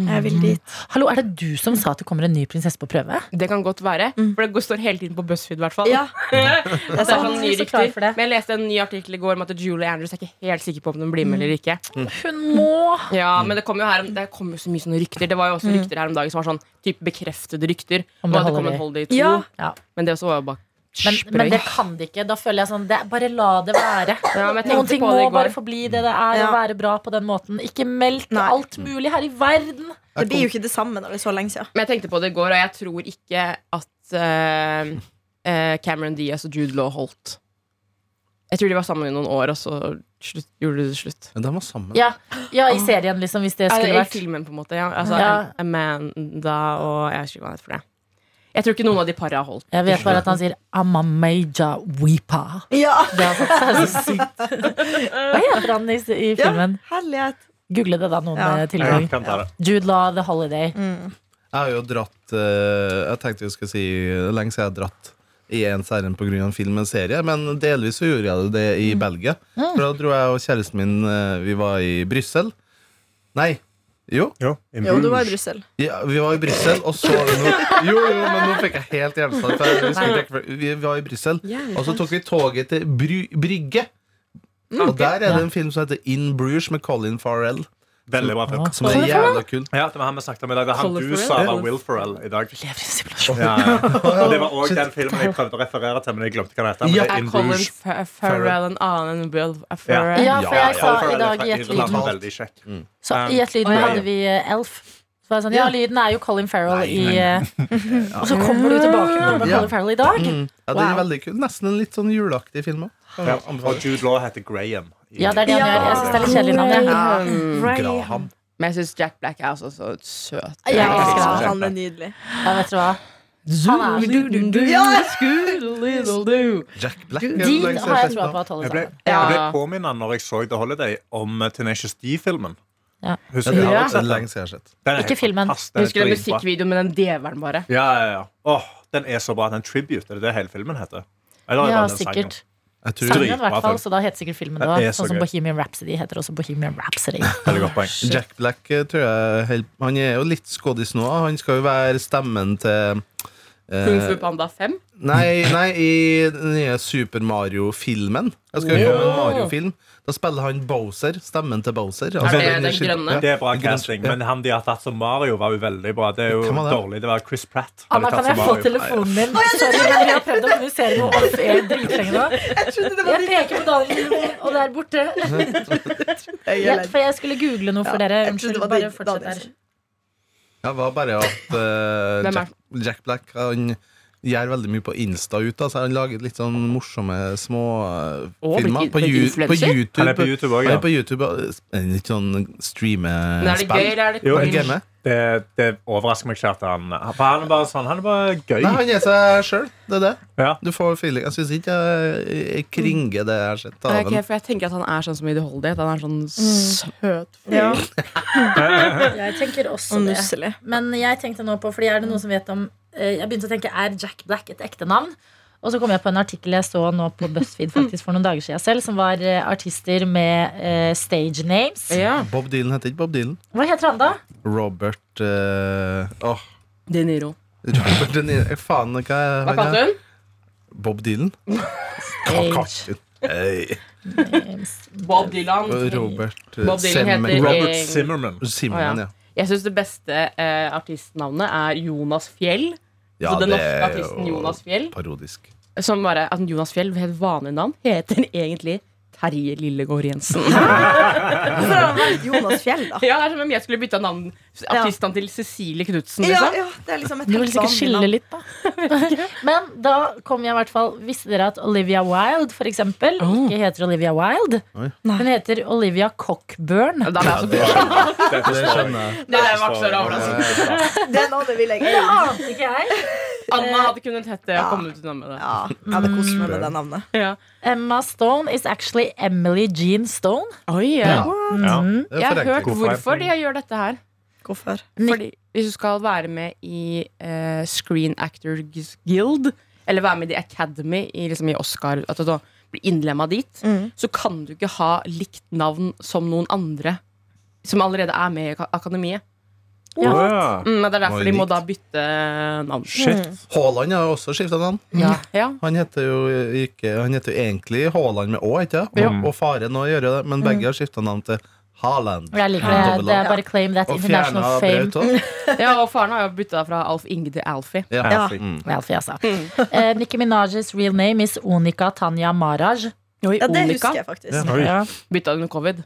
Speaker 3: Mm. Jeg vil dit.
Speaker 6: Hallo, er det du som sa at det kommer en ny prinsesse på prøve?
Speaker 2: Det kan godt være, for det går- står hele tiden på BuzzFeed, i hvert fall.
Speaker 3: Ja.
Speaker 2: Det er sånn
Speaker 6: sant.
Speaker 2: nye
Speaker 6: Så klar
Speaker 2: rykter.
Speaker 6: for det.
Speaker 2: Men jeg leste en ny artikkel i går om at Julie Andrews er ikke helt sikker på om hun blir med eller ikke.
Speaker 6: Hun må!
Speaker 2: Ja, Men det kom jo her om- det kom jo så mye sånne rykter. Det var jo også rykter her om dagen som var sånn typ bekreftede rykter. Om
Speaker 6: Om det
Speaker 2: det, det kom en
Speaker 6: holder i.
Speaker 2: holiday to.
Speaker 3: Ja.
Speaker 6: Ja.
Speaker 2: Men det også var jo bare
Speaker 6: Men,
Speaker 2: sprøy.
Speaker 6: men det kan de ikke. Da føler jeg sånn det, Bare la det være.
Speaker 2: Ja, men jeg
Speaker 6: Noen
Speaker 2: tenkte
Speaker 6: ting
Speaker 2: på
Speaker 6: må
Speaker 2: det i går.
Speaker 6: bare forbli det det er,
Speaker 3: Ja.
Speaker 6: og være bra på den måten. Ikke meldt
Speaker 3: Nei.
Speaker 6: alt mulig her i verden.
Speaker 3: Det blir jo ikke det samme når det er så lenge siden.
Speaker 2: Men jeg tenkte på det i går, og jeg tror ikke at eh, eh, Cameron Diaz og Jude Law holdt. Jeg tror de var sammen i noen år, og så slutt, gjorde de det slutt.
Speaker 4: Men de var sammen.
Speaker 6: Ja, ja i serien, liksom, hvis det skulle
Speaker 2: Eller i
Speaker 6: vært
Speaker 2: filmen, på en måte. Ja. Altså,
Speaker 6: Ja.
Speaker 2: Amanda og Jeg husker ikke hva han heter for det. Jeg tror ikke noen av de para har holdt.
Speaker 6: Jeg vet bare at han sier Amamaja Weepa.
Speaker 3: Ja,
Speaker 6: Det har satt seg så sykt. Hva heter han i, i
Speaker 3: ja.
Speaker 6: filmen?
Speaker 3: herlighet.
Speaker 6: Google det da, noen
Speaker 3: Ja.
Speaker 6: eh, tilgang.
Speaker 5: Jeg kan ta det.
Speaker 6: Jude Law, The Holiday.
Speaker 4: Jeg har jo dratt eh, Jeg tenkte jeg skulle si eh, lenge siden jeg har dratt i ens ærend pga. en film og en serie, men delvis så gjorde jeg det
Speaker 3: Mm.
Speaker 4: i Belgia. For da dro jeg og kjæresten min eh, Vi var i Brussel. Nei. Jo.
Speaker 5: Jo,
Speaker 3: Jo, du var i Brussel.
Speaker 4: Ja, vi var i Brussel, og så Jo, jo, men nå fikk jeg helt hjerneslag. for jeg husker ikke rekkefølgen. Vi var i Brussel, og så tok vi toget til Bry Brygge.
Speaker 6: Mm.
Speaker 4: Og der er det en film som heter In Bruges med Colin Farrell.
Speaker 5: Veldig bra film.
Speaker 4: Som er jævla kul.
Speaker 5: Ja, det var han vi snakket om i dag. Det er han
Speaker 2: Colin
Speaker 5: du
Speaker 2: Farrell.
Speaker 5: sa var
Speaker 2: Colin-
Speaker 5: Will Ferrell i dag.
Speaker 6: Lever i simulasjon.
Speaker 5: Ja, ja. Og det var òg
Speaker 4: Shit.
Speaker 5: den filmen jeg prøvde å referere til, men jeg glemte hva den heter. Men
Speaker 4: Ja.
Speaker 5: det er
Speaker 2: Er
Speaker 5: In
Speaker 2: Colin
Speaker 5: Bruges.
Speaker 2: Fa- Farrell en annen enn Will Ferrell?
Speaker 6: Ja, for
Speaker 5: Ja,
Speaker 6: jeg sa
Speaker 5: Colin Farrell
Speaker 6: i
Speaker 5: er
Speaker 6: dag
Speaker 5: fra
Speaker 6: i et
Speaker 5: Irland,
Speaker 6: lyd
Speaker 5: han er veldig kjekk.
Speaker 6: Så i et lyd
Speaker 5: Oi.
Speaker 6: hadde vi eh, Elf. Så var jeg sånn, ja, lyden er jo Colin Farrell
Speaker 4: Nei,
Speaker 6: i
Speaker 4: nei.
Speaker 6: eh, Og så kommer du tilbake med noe med
Speaker 4: Ja.
Speaker 6: Colin Farrell i dag.
Speaker 4: Mm. Ja, den er
Speaker 6: Wow.
Speaker 4: veldig kul. Nesten en litt sånn juleaktig film òg.
Speaker 5: Ja. Og Jude Law heter Graham. i-
Speaker 6: Ja, det er det han
Speaker 3: Ja.
Speaker 6: gjør. Jeg syns det er litt kjedelig navn. jeg.
Speaker 4: Graham.
Speaker 2: Um, Men jeg syns Jack Black er også så søt.
Speaker 6: Ja,
Speaker 3: Ja,
Speaker 6: jeg elsker han.
Speaker 3: han er nydelig.
Speaker 6: Ja, vet du hva. Han er så-
Speaker 3: Ja.
Speaker 4: Jack Black.
Speaker 6: De har jeg troa på at holder
Speaker 5: Jeg ble,
Speaker 6: sammen.
Speaker 5: jeg ble
Speaker 2: Ja.
Speaker 5: påminnet når jeg så The Holiday, om eh, Tenacious D-filmen.
Speaker 6: Ja.
Speaker 5: Husker du
Speaker 4: Det
Speaker 5: den?
Speaker 4: har
Speaker 5: har
Speaker 4: jeg
Speaker 5: sett
Speaker 4: sett
Speaker 5: den?
Speaker 4: lenge siden jeg har sett.
Speaker 5: Den er
Speaker 6: Ikke
Speaker 5: helt
Speaker 6: filmen.
Speaker 5: fantastisk. Den er Eh,
Speaker 2: Husker du
Speaker 5: dritbra.
Speaker 2: musikkvideoen med den deveren, bare?
Speaker 5: Ja, ja, ja. Åh, den er så bra. Den tribute, er det det hele filmen heter? Eller er det
Speaker 6: Ja,
Speaker 5: bare den sangen?
Speaker 6: sikkert.
Speaker 4: Jeg tror
Speaker 6: Sangen i
Speaker 5: Dritbra
Speaker 6: hvert fall,
Speaker 5: film.
Speaker 6: så da heter sikkert filmen det
Speaker 5: Det er
Speaker 6: òg.
Speaker 5: så
Speaker 6: Sånn som
Speaker 5: gøy.
Speaker 6: Bohemian Rhapsody heter også Bohemian Rhapsody.
Speaker 5: Veldig godt poeng.
Speaker 4: Jack Black eh, tror jeg held- Han er jo litt skådis nå. Han skal jo være stemmen til eh,
Speaker 2: Kung Fu Panda 5?
Speaker 4: Nei, nei, i den nye Super Mario-filmen. Jeg skal jo komme med en Mario-film. Da spiller han Bowser. Stemmen til Bowser. Altså,
Speaker 2: det
Speaker 4: den
Speaker 2: den
Speaker 4: skil-
Speaker 2: grønne?
Speaker 4: Ja.
Speaker 5: Det er bra casting, men han de har tatt som Mario, var jo veldig bra. Det er jo
Speaker 4: Hvem var det?
Speaker 5: dårlig. Det var Chris Pratt. hadde
Speaker 6: Anna,
Speaker 5: tatt
Speaker 6: kan
Speaker 5: som
Speaker 6: jeg få
Speaker 5: Mario.
Speaker 6: telefonen din? Sorry, men vi har prøvd å kommunisere noe off air dritlenge nå. Jeg peker på Daniel, og der borte.
Speaker 3: Jeg
Speaker 6: Ja,
Speaker 3: er lei.
Speaker 6: for jeg skulle google noe for
Speaker 3: Ja,
Speaker 6: dere.
Speaker 3: jeg trodde
Speaker 6: Unnskyld,
Speaker 3: det var
Speaker 6: bare
Speaker 3: din-
Speaker 6: fortsett
Speaker 3: Daniel
Speaker 6: her.
Speaker 3: sin.
Speaker 4: Jeg var bare at eh,
Speaker 2: Hvem er-
Speaker 4: Jack, Jack Black han gjør veldig mye på Insta ut. Altså, han lager litt sånn morsomme små eh,
Speaker 2: Å, blir
Speaker 4: filmer
Speaker 2: ikke-
Speaker 4: på,
Speaker 2: blir
Speaker 4: Ju- på
Speaker 2: influencer?
Speaker 4: YouTube.
Speaker 5: Han er på YouTube også,
Speaker 4: Han
Speaker 5: ja.
Speaker 4: er på YouTube, og- eh, Litt sånn
Speaker 2: Men er det gøy,
Speaker 4: streame-spill.
Speaker 2: eller er det
Speaker 5: Jo,
Speaker 2: cringe?
Speaker 4: Game.
Speaker 5: Det, det overrasker meg ikke at han For han er bare sånn, han er bare gøy.
Speaker 4: Nei, han er seg sjøl. Det er det.
Speaker 5: Ja.
Speaker 4: Du får feeling. Jeg syns ikke jeg, jeg kringer det jeg har sett av
Speaker 2: Nei,
Speaker 4: ham.
Speaker 2: ok, for jeg tenker at han er sånn som i The Holiday. At han er sånn
Speaker 6: Mm.
Speaker 2: søt.
Speaker 3: Ja,
Speaker 6: Jeg tenker også
Speaker 3: og
Speaker 6: det.
Speaker 3: Sånn nusselig.
Speaker 6: Men jeg tenkte nå på, fordi er det noen som vet om eh, Jeg begynte å tenke, er Jack Black et ekte navn? Og så kom jeg på en artikkel jeg så nå på BuzzFeed faktisk for noen dager siden selv, som var eh, artister med eh, stage names.
Speaker 2: Ja.
Speaker 4: Bob Dylan heter ikke Bob Dylan.
Speaker 6: Hva heter han da?
Speaker 4: Robert eh, Åh,
Speaker 2: De Niro.
Speaker 4: Robert De Niro. Eh, Faen, hva er
Speaker 2: Hva kalte hun?
Speaker 4: Bob Dylan? Hva kalte hun? Hey.
Speaker 6: names.
Speaker 2: Bob Dylan.
Speaker 4: Robert eh,
Speaker 2: Bob Dylan
Speaker 4: Zimmer-
Speaker 2: heter-
Speaker 4: Robert
Speaker 5: Robert Zimmerman.
Speaker 4: Zimmerman, ja.
Speaker 2: Jeg syns det beste eh, artistnavnet er Jonas Fjell.
Speaker 4: ja.
Speaker 2: så den
Speaker 4: det
Speaker 2: norske
Speaker 4: er
Speaker 2: artisten
Speaker 4: jo
Speaker 2: Jonas Fjell.
Speaker 4: Parodisk.
Speaker 2: Som bare, at Jonas Fjell, helt vanlig navn, heter egentlig Terje Lillegård Jensen.
Speaker 3: Hvorfor har han valgt Jonas Fjell, da?
Speaker 2: Ja, det er som om jeg skulle bytta navn artistnavn til Cecilie Knutsen.
Speaker 3: Ja,
Speaker 2: Liksom.
Speaker 3: ja, det er liksom et
Speaker 6: Du vil
Speaker 3: helt
Speaker 6: sikkert
Speaker 3: vanlig
Speaker 6: skille
Speaker 3: navn.
Speaker 6: litt, da. Men da kom jeg i hvert fall Visste dere at Olivia Wilde, for eksempel,
Speaker 3: Oh.
Speaker 6: ikke heter Olivia Wilde?
Speaker 4: Oi.
Speaker 6: Hun heter Olivia Cockburn.
Speaker 2: Da ble jeg så
Speaker 4: det
Speaker 5: Det forstår jeg.
Speaker 4: skjønner jeg.
Speaker 2: Det var ikke så altså. overraskende.
Speaker 5: overraskende.
Speaker 3: Det navnet vil jeg
Speaker 6: Det
Speaker 3: eie.
Speaker 6: ante ikke jeg.
Speaker 2: Anna hadde kunnet hette det og
Speaker 3: Ja.
Speaker 2: kommet ut med det.
Speaker 3: Ja, jeg hadde kost meg med det navnet.
Speaker 2: Ja.
Speaker 6: Emma Stone is actually Emily Jean Stone.
Speaker 2: Oi, ja.
Speaker 4: Ja.
Speaker 5: Ja.
Speaker 6: Mhm.
Speaker 4: Det er
Speaker 2: Jeg har hørt
Speaker 4: forenkling.
Speaker 5: God
Speaker 2: hvorfor de
Speaker 5: forretning.
Speaker 2: gjør dette her.
Speaker 3: Hvorfor?
Speaker 6: Nick-
Speaker 2: Fordi Hvis du skal være med i eh, Screen Actors Guild, eller være med i The Academy i, liksom, i Oscar, at du da blir innlemma dit,
Speaker 3: Mm.
Speaker 2: så kan du ikke ha likt navn som noen andre som allerede er med i ak- akademiet.
Speaker 6: Ja.
Speaker 5: Wow.
Speaker 2: Mm, men det er
Speaker 4: Oi,
Speaker 2: derfor de må
Speaker 4: likt.
Speaker 2: da bytte navn.
Speaker 5: Shit.
Speaker 4: Haaland har også skifta navn.
Speaker 2: Ja. Ja.
Speaker 4: Han heter jo ikke Han heter jo egentlig Haaland med Å, ikke sant?
Speaker 5: Ja.
Speaker 4: Og- Og faren òg gjør jo det, men
Speaker 2: Mm.
Speaker 4: begge har skifta navn til Haaland.
Speaker 6: Jeg liker det. Det er bare claim that
Speaker 4: Og fjerna
Speaker 6: international fame.
Speaker 4: Braut òg.
Speaker 2: ja, Og faren har jo bytta fra Alf Inge til Alfie.
Speaker 4: Ja.
Speaker 3: Ja.
Speaker 4: Mm.
Speaker 6: Ralphie, altså. Eh, Nicki Minaj's real name is Onika Tanya Maraj.
Speaker 3: Ja, det husker jeg faktisk.
Speaker 5: Oi.
Speaker 2: Bytta under covid.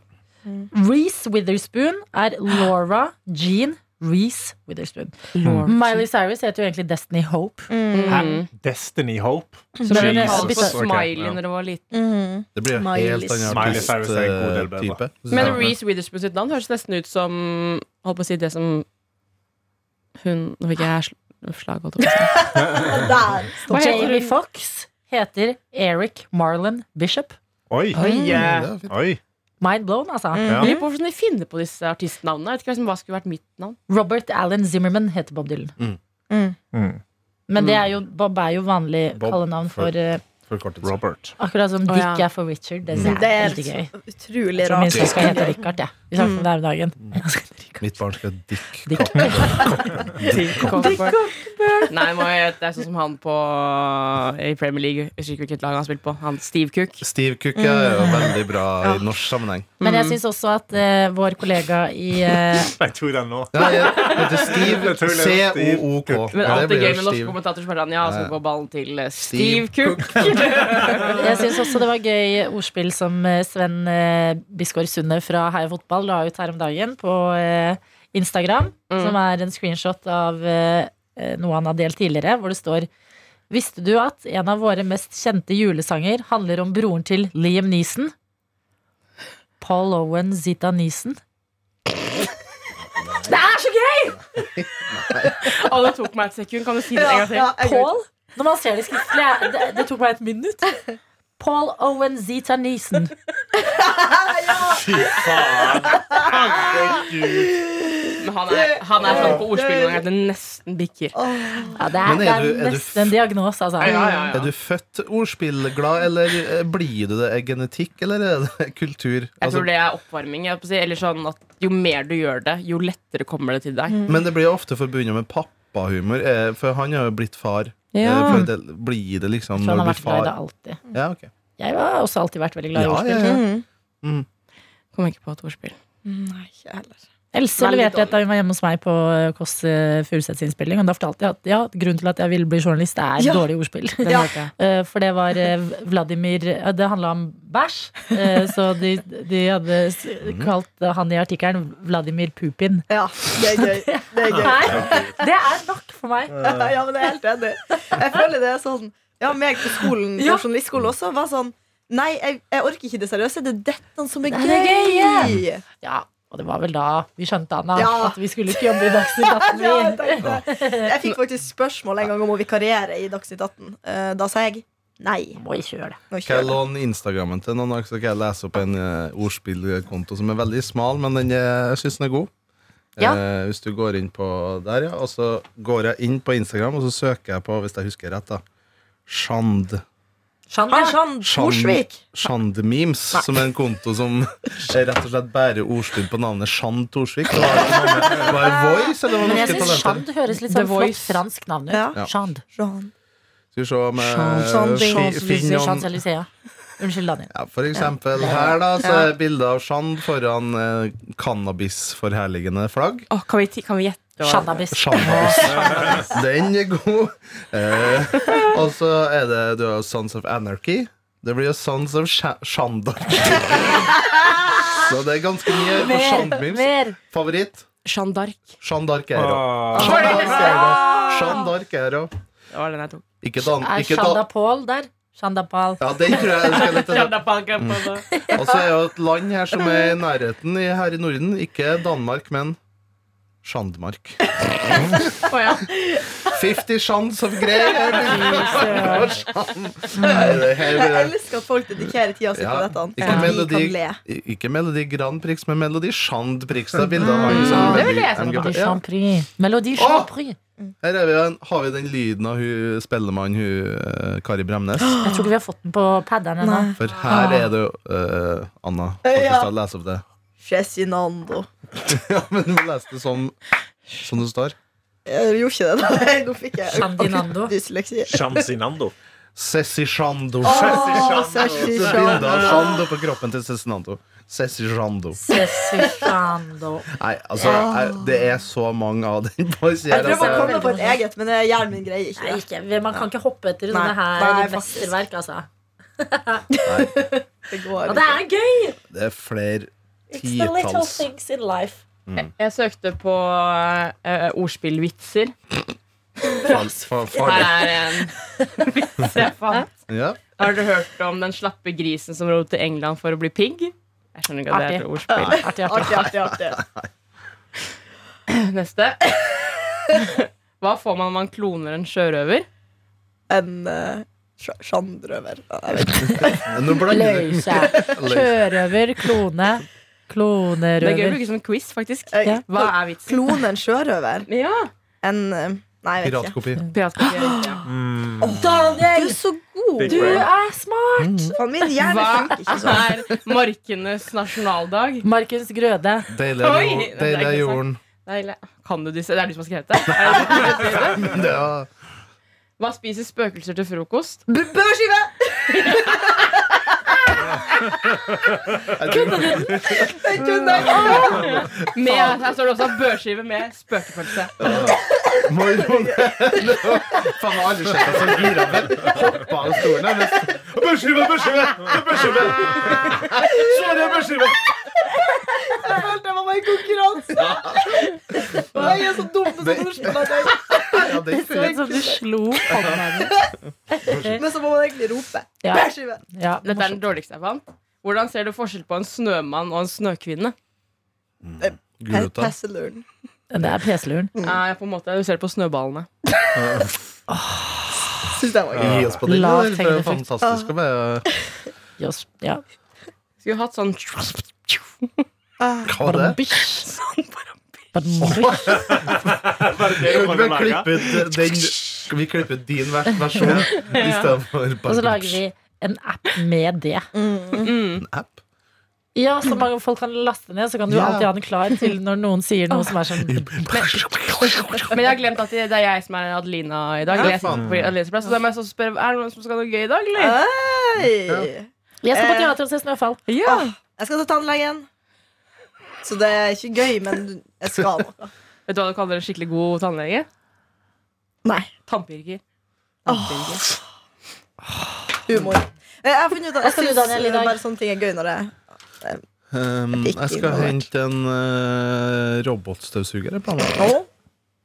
Speaker 6: Reece Witherspoon er Laura Jean Reece Witherspoon.
Speaker 5: Mm.
Speaker 6: Miley Cyrus heter jo egentlig Destiny Hope.
Speaker 5: Hæ? Destiny Hope.
Speaker 2: Som ble
Speaker 5: Mm. Jesus.
Speaker 2: kalt for
Speaker 5: Ok,
Speaker 2: Smiley
Speaker 5: ja.
Speaker 2: når hun var liten.
Speaker 3: Mm.
Speaker 4: Det blir en
Speaker 3: Miley
Speaker 4: helt annen eh,
Speaker 5: Miley Cyrus er en god del bedre.
Speaker 4: artist-type.
Speaker 2: Men
Speaker 5: Ja.
Speaker 2: Reece Witherspoon sitt navn høres nesten ut som Holdt på å si det som hun Nå fikk jeg sl- slag holdt jeg på å si.
Speaker 3: Der
Speaker 2: Hva
Speaker 3: står
Speaker 2: heter
Speaker 6: Jamie
Speaker 2: hun?
Speaker 6: Fox heter Eric Marlon Bishop.
Speaker 5: Oi.
Speaker 4: Det er fint.
Speaker 5: Oi.
Speaker 6: Mind blown, altså.
Speaker 5: Ja.
Speaker 2: Jeg lurer på hvordan de finner på disse artistnavnene. Jeg vet ikke hva som- hva skulle vært mitt navn.
Speaker 6: Robert Allen Zimmerman heter Bob Dylan.
Speaker 3: Mm.
Speaker 5: Mm.
Speaker 6: Men det er jo, Bob er jo vanlig
Speaker 4: Bob
Speaker 6: kallenavn for
Speaker 4: for-
Speaker 6: eh,
Speaker 4: Forkortet.
Speaker 5: Robert.
Speaker 6: Akkurat som
Speaker 2: Å,
Speaker 6: Dick
Speaker 2: ja.
Speaker 6: er for Richard. Det,
Speaker 3: Mm. Det
Speaker 6: er
Speaker 3: er
Speaker 6: veldig gøy.
Speaker 3: utrolig
Speaker 6: Jeg tror min
Speaker 3: rart.
Speaker 6: søster skal hete Richard, jeg. Vi snakket om det her om dagen.
Speaker 4: Mitt barn skal dick.
Speaker 6: Dick.
Speaker 2: Nei, må jeg, det er sånn som han på eh, i Premier League. Jeg husker ikke hvilket lag han spilte på. Han Steve Cook.
Speaker 4: Steve Cook er jo veldig bra i norsk sammenheng.
Speaker 6: Men jeg syns også at eh, vår kollega i eh,
Speaker 5: Jeg tok den nå.
Speaker 4: Ja, jeg heter Steve.
Speaker 5: Jeg tror det er Steve
Speaker 4: C-O-O-K.
Speaker 2: Men
Speaker 4: Ja, det
Speaker 2: alt er
Speaker 4: blir jo
Speaker 2: gøy med norske
Speaker 4: Steve.
Speaker 2: kommentatorer. spør han, Ja, skal gå ballen til eh, Steve
Speaker 4: Steve
Speaker 2: Cook.
Speaker 6: Jeg syns også det var gøy ordspill som eh, Sven eh, Biskår Sunde fra Heia Fotball la ut her om dagen på eh, Instagram, som er en screenshot av eh, eh, noe han har delt tidligere, hvor det står Visste du at en av våre mest kjente julesanger handler om broren til Liam Neeson? Paul Owen Zita Neeson. Det er så gøy!
Speaker 2: Å, det tok meg et sekund. Kan du si det en
Speaker 3: Ja,
Speaker 2: gang til?
Speaker 3: ja, jeg går
Speaker 6: Paul, når man ser det skriftlig, er- det, det tok meg et minutt. Paul Owen Zita Neeson.
Speaker 5: Fy faen. Herregud.
Speaker 2: Men han er, han er sånn på ordspillene at det nesten bikker.
Speaker 6: Ja, det er,
Speaker 4: Men er
Speaker 6: det er,
Speaker 4: du- er du
Speaker 6: nesten en
Speaker 4: f-
Speaker 6: diagnose, altså.
Speaker 4: Er du født ordspillglad, eller eh, blir du det? Er genetikk, eller er det kultur?
Speaker 2: Jeg
Speaker 4: Altså,
Speaker 2: tror det er oppvarming. Jeg holdt på å si. Eller sånn at Jo mer du gjør det, jo lettere kommer det til deg.
Speaker 4: Men det blir jo ofte forbundet med pappahumor, eh, for han har jo blitt far. Eh,
Speaker 2: Ja.
Speaker 4: For det blir det liksom
Speaker 6: Jeg tror
Speaker 4: når
Speaker 6: han
Speaker 4: du
Speaker 6: har
Speaker 4: blir
Speaker 6: vært glad i det
Speaker 4: far.
Speaker 6: alltid.
Speaker 4: Ja, ok.
Speaker 6: Jeg har også alltid vært veldig glad i
Speaker 4: Ja,
Speaker 6: ordspill.
Speaker 4: ja, ja.
Speaker 2: Kommer ikke på et ordspill.
Speaker 3: Nei, ikke heller.
Speaker 6: Else
Speaker 2: Veldig
Speaker 6: leverte et da hun var hjemme hos meg på eh, Kåss eh, Furuseths innspilling, og da fortalte jeg at ja, grunnen til at jeg ville bli journalist, er
Speaker 3: Ja.
Speaker 6: dårlig ordspill.
Speaker 2: Den
Speaker 3: Ja.
Speaker 2: hørte jeg.
Speaker 6: Eh, For det var eh, Vladimir eh, Det handla om bæsj, eh, så de, de hadde s-
Speaker 4: Mhm.
Speaker 6: kalt han i artikkelen Vladimir Pupin.
Speaker 3: Ja, det er gøy. Det er gøy.
Speaker 6: Det er nok for meg.
Speaker 3: Ja, men jeg er helt enig. Jeg føler det er sånn Ja, meg på skolen, på
Speaker 6: Ja.
Speaker 3: journalistskolen også, var sånn Nei, jeg, jeg orker ikke det seriøse. Det er dette som er
Speaker 6: Det er
Speaker 3: gøy!
Speaker 6: det Ja, og det var vel da vi skjønte, Anna,
Speaker 3: Ja.
Speaker 6: at vi skulle ikke jobbe i Dagsnytt 18.
Speaker 3: Ja,
Speaker 6: vi.
Speaker 3: jeg tenkte det. Jeg fikk faktisk spørsmål en gang om å vikariere i Dagsnytt 18. Eh, Da sa jeg nei.
Speaker 6: Må ikke gjøre det.
Speaker 3: Nå
Speaker 4: Skal jeg
Speaker 3: kjører jeg.
Speaker 4: låne Instagrammen til noen, så skal jeg lese opp en eh, ordspillkonto som er veldig smal, men den, eh, jeg syns den er god.
Speaker 6: Ja.
Speaker 4: Eh, hvis du går inn på der, ja. Og så går jeg inn på Instagram, og så søker jeg på, hvis jeg husker rett, da Shand.
Speaker 6: Chandler.
Speaker 3: Torsvik.
Speaker 4: Shand-memes, som er en konto som rett og slett bærer ordspill på navnet Shand Torsvik. Det var, det var Voice, eller var
Speaker 6: Men
Speaker 4: det
Speaker 6: jeg
Speaker 4: norske
Speaker 6: syns
Speaker 4: talenter?
Speaker 6: Shand høres litt
Speaker 2: The
Speaker 6: sånn flott
Speaker 2: Voice.
Speaker 6: fransk navn ut.
Speaker 3: Ja.
Speaker 6: Shand.
Speaker 3: Jean.
Speaker 4: Skal vi se om eh,
Speaker 3: Shand-
Speaker 4: Fi-
Speaker 6: Champs-Élysées,
Speaker 4: Fignon-
Speaker 6: Champs-Élysées. Unnskyld, Daniel.
Speaker 4: ja, For eksempel her, da, så er bildet av Shand foran eh, cannabisforherligende flagg.
Speaker 2: Åh, kan, vi, ti- kan vi gjette? hva-
Speaker 6: Chandabis.
Speaker 4: Shambas. Den er god. Eh, og så er det du har Sons of Anarchy. Det blir jo Sons of Sha- Shanda. Så det er ganske mye for Shandmims.
Speaker 6: mer.
Speaker 4: Favoritt?
Speaker 2: Jeanne d'Arc.
Speaker 4: Shandark er det.
Speaker 5: Åh.
Speaker 4: Shandark er det.
Speaker 2: Det var den jeg tok.
Speaker 4: Ikke Dan...
Speaker 6: Er
Speaker 4: Ikke
Speaker 6: Shanda
Speaker 4: Dan...
Speaker 6: Paul der? Shanda Paul.
Speaker 4: Ja, den tror jeg jeg skal litt
Speaker 2: Jeanne d'Arc er på det.
Speaker 4: Og så Altså, er jo et land her som er i nærheten i- her i Norden. Ikke Danmark, men Shandmark.
Speaker 2: Å ja.
Speaker 4: Fifty Shands of Grey. Nei, det her
Speaker 3: Jeg
Speaker 4: blir det.
Speaker 3: elsker at folk dedikerer tida si
Speaker 4: Ja,
Speaker 3: på dette.
Speaker 4: ikke
Speaker 3: At vi
Speaker 4: melodi-
Speaker 3: kan le.
Speaker 4: I- Ikke Melodi Grand Prix, men Melodi Chand Prix. Det er bildet av han
Speaker 2: Mm, det ville jeg sagt.
Speaker 4: MGP.
Speaker 6: Melodi
Speaker 4: Ja,
Speaker 6: Grand Prix. Melodi Grand Prix.
Speaker 4: her er vi, jo en- har vi den lyden av hun spellemannen, hun eh, Kari Bremnes.
Speaker 6: Jeg tror ikke vi har fått den på padderen ennå.
Speaker 3: Nei.
Speaker 4: For her er det jo eh, Anna. Faktisk,
Speaker 3: Ja.
Speaker 4: da, Les opp det.
Speaker 3: Cezinando.
Speaker 4: Ja, men du må lese det som, som det står.
Speaker 3: Eh, Jeg gjorde ikke det. da. Nå fikk jeg
Speaker 6: Shandinando.
Speaker 3: akutt dysleksi.
Speaker 5: Shamsinando.
Speaker 4: Sessi Shando.
Speaker 3: Å,
Speaker 4: Så
Speaker 3: Cezinando.
Speaker 4: bildet av Shando på kroppen til Cezinando. Sessi Shando.
Speaker 6: Cesicando.
Speaker 4: Nei, altså, jeg- det er så mange av den boys. Jeg,
Speaker 3: Jeg prøver å
Speaker 4: altså,
Speaker 3: komme på et eget, men hjernen min greier ikke
Speaker 6: Nei,
Speaker 3: det.
Speaker 6: ikke. Man kan ikke hoppe etter
Speaker 3: Nei.
Speaker 6: sånne her
Speaker 3: Nei, faktisk.
Speaker 6: mesterverk, altså.
Speaker 3: Det går
Speaker 6: Og det
Speaker 3: ikke.
Speaker 6: er gøy!
Speaker 4: det er flere
Speaker 6: It's the little
Speaker 4: titalls.
Speaker 6: things in life.
Speaker 2: Jeg søkte på eh, ordspillvitser.
Speaker 4: Far- far- far-
Speaker 2: Her er en vits jeg fant.
Speaker 4: Ja.
Speaker 2: Har dere hørt om den slappe grisen som dro til England for å bli pigg? Jeg skjønner ikke at det er et ordspill.
Speaker 6: Artig, artig.
Speaker 3: Artig, artig, artig.
Speaker 2: Neste. Hva får man om man kloner en sjørøver?
Speaker 3: En eh, sj- sjandrøver. Ja, jeg vet ikke.
Speaker 4: Nå blander du.
Speaker 6: Løse. Sjørøver,
Speaker 2: Det
Speaker 6: klone,
Speaker 2: er gøy å
Speaker 6: klonerøver.
Speaker 2: bruke som en quiz, faktisk.
Speaker 3: Eh,
Speaker 6: Ja.
Speaker 2: Hva er vitsen?
Speaker 3: Klone en sjørøver?
Speaker 2: Ja,
Speaker 3: En eh, Nei, jeg vet ikke.
Speaker 4: Piratkopi.
Speaker 2: piratkopi er riktig, ja.
Speaker 5: Mm.
Speaker 3: Du
Speaker 6: Daniel,
Speaker 3: er så god!
Speaker 5: Big
Speaker 6: du
Speaker 5: brain.
Speaker 6: er smart!
Speaker 3: Faen, min hjerne funker ikke
Speaker 2: Hva
Speaker 3: sånn.
Speaker 2: er markenes nasjonaldag?
Speaker 6: Markens Grøde.
Speaker 4: Deilig er
Speaker 2: Oi,
Speaker 4: jord-
Speaker 2: det er
Speaker 4: deilig er
Speaker 2: ikke sant.
Speaker 4: jorden.
Speaker 2: Deilig. Kan du disse? Det er du som har skrevet det? Er det du som sier det?
Speaker 4: Det er-
Speaker 2: Hva spiser spøkelser til frokost?
Speaker 3: B- Brødskive!
Speaker 4: Jeg tror-
Speaker 3: Jeg kunne
Speaker 2: Med, her står det også børskive med spøkepølse.
Speaker 4: Morgen. Det var- Faen, jeg har aldri sett deg så gira, men hoppa av stolen her. Børskive, børskive, børskive! Sverre, børskive!
Speaker 3: følt jeg var med i konkurranse! Jeg er så dum til
Speaker 4: Det-
Speaker 3: sånne ordspill. at jeg-
Speaker 4: Ja, det
Speaker 6: Det
Speaker 4: kunne
Speaker 6: ser
Speaker 4: jeg.
Speaker 6: ut som du slo hånda di.
Speaker 3: Men så må man egentlig rope.
Speaker 6: Ja.
Speaker 3: Brødskive!
Speaker 6: Ja,
Speaker 2: Dette er den dårligste jeg fant. Hvordan ser du forskjell på en snømann og en snøkvinne?
Speaker 4: Gulrota.
Speaker 3: Pesseluren.
Speaker 6: det er PC-luren.
Speaker 2: Eh, på en måte, Du ser det på snøballene.
Speaker 3: Syns den var gøy.
Speaker 4: Gi oss på den.
Speaker 6: Lav
Speaker 4: Det er
Speaker 6: tegnefrukt.
Speaker 4: fantastisk å være
Speaker 6: Yes. Ja.
Speaker 2: Skulle hatt sånn
Speaker 4: Hva var det?
Speaker 6: Badum-bish. Badum-bish.
Speaker 4: Kan vi klippe ut den Skal vi klippe ut din vers- versjon istedenfor
Speaker 6: Og så lager vi en app med det.
Speaker 4: en app?
Speaker 6: Ja, så mange folk kan laste ned, så kan du
Speaker 4: Ja.
Speaker 6: alltid ha den klar til når noen sier noe som er sånn
Speaker 2: Men jeg har glemt at det det er jeg som er Adelina i dag.
Speaker 4: Ja,
Speaker 2: Jeg
Speaker 4: faen.
Speaker 2: sitter på Adelinas plass, og da må jeg så spørre, Er det noen som skal ha noe gøy i dag,
Speaker 3: Ah,
Speaker 2: eller?
Speaker 3: Hei!
Speaker 6: Jeg skal på teater og se Snøfall.
Speaker 2: Ja.
Speaker 3: Jeg skal til tannlegen. Så det er ikke gøy, men du- jeg skal noe.
Speaker 2: Vet du hva du kaller en skikkelig god tannlege?
Speaker 3: Nei.
Speaker 2: Tannpirker. Tannpirker.
Speaker 3: Humor. Eh, Jeg har funnet ut at
Speaker 6: Hva
Speaker 3: jeg
Speaker 6: skal du,
Speaker 3: syns
Speaker 6: Daniel, i dag?
Speaker 3: bare sånne ting er gøy når det
Speaker 4: Um,
Speaker 3: Ikke
Speaker 4: jeg skal
Speaker 3: involvert.
Speaker 4: hente en uh, robotstøvsuger. jeg planlegger.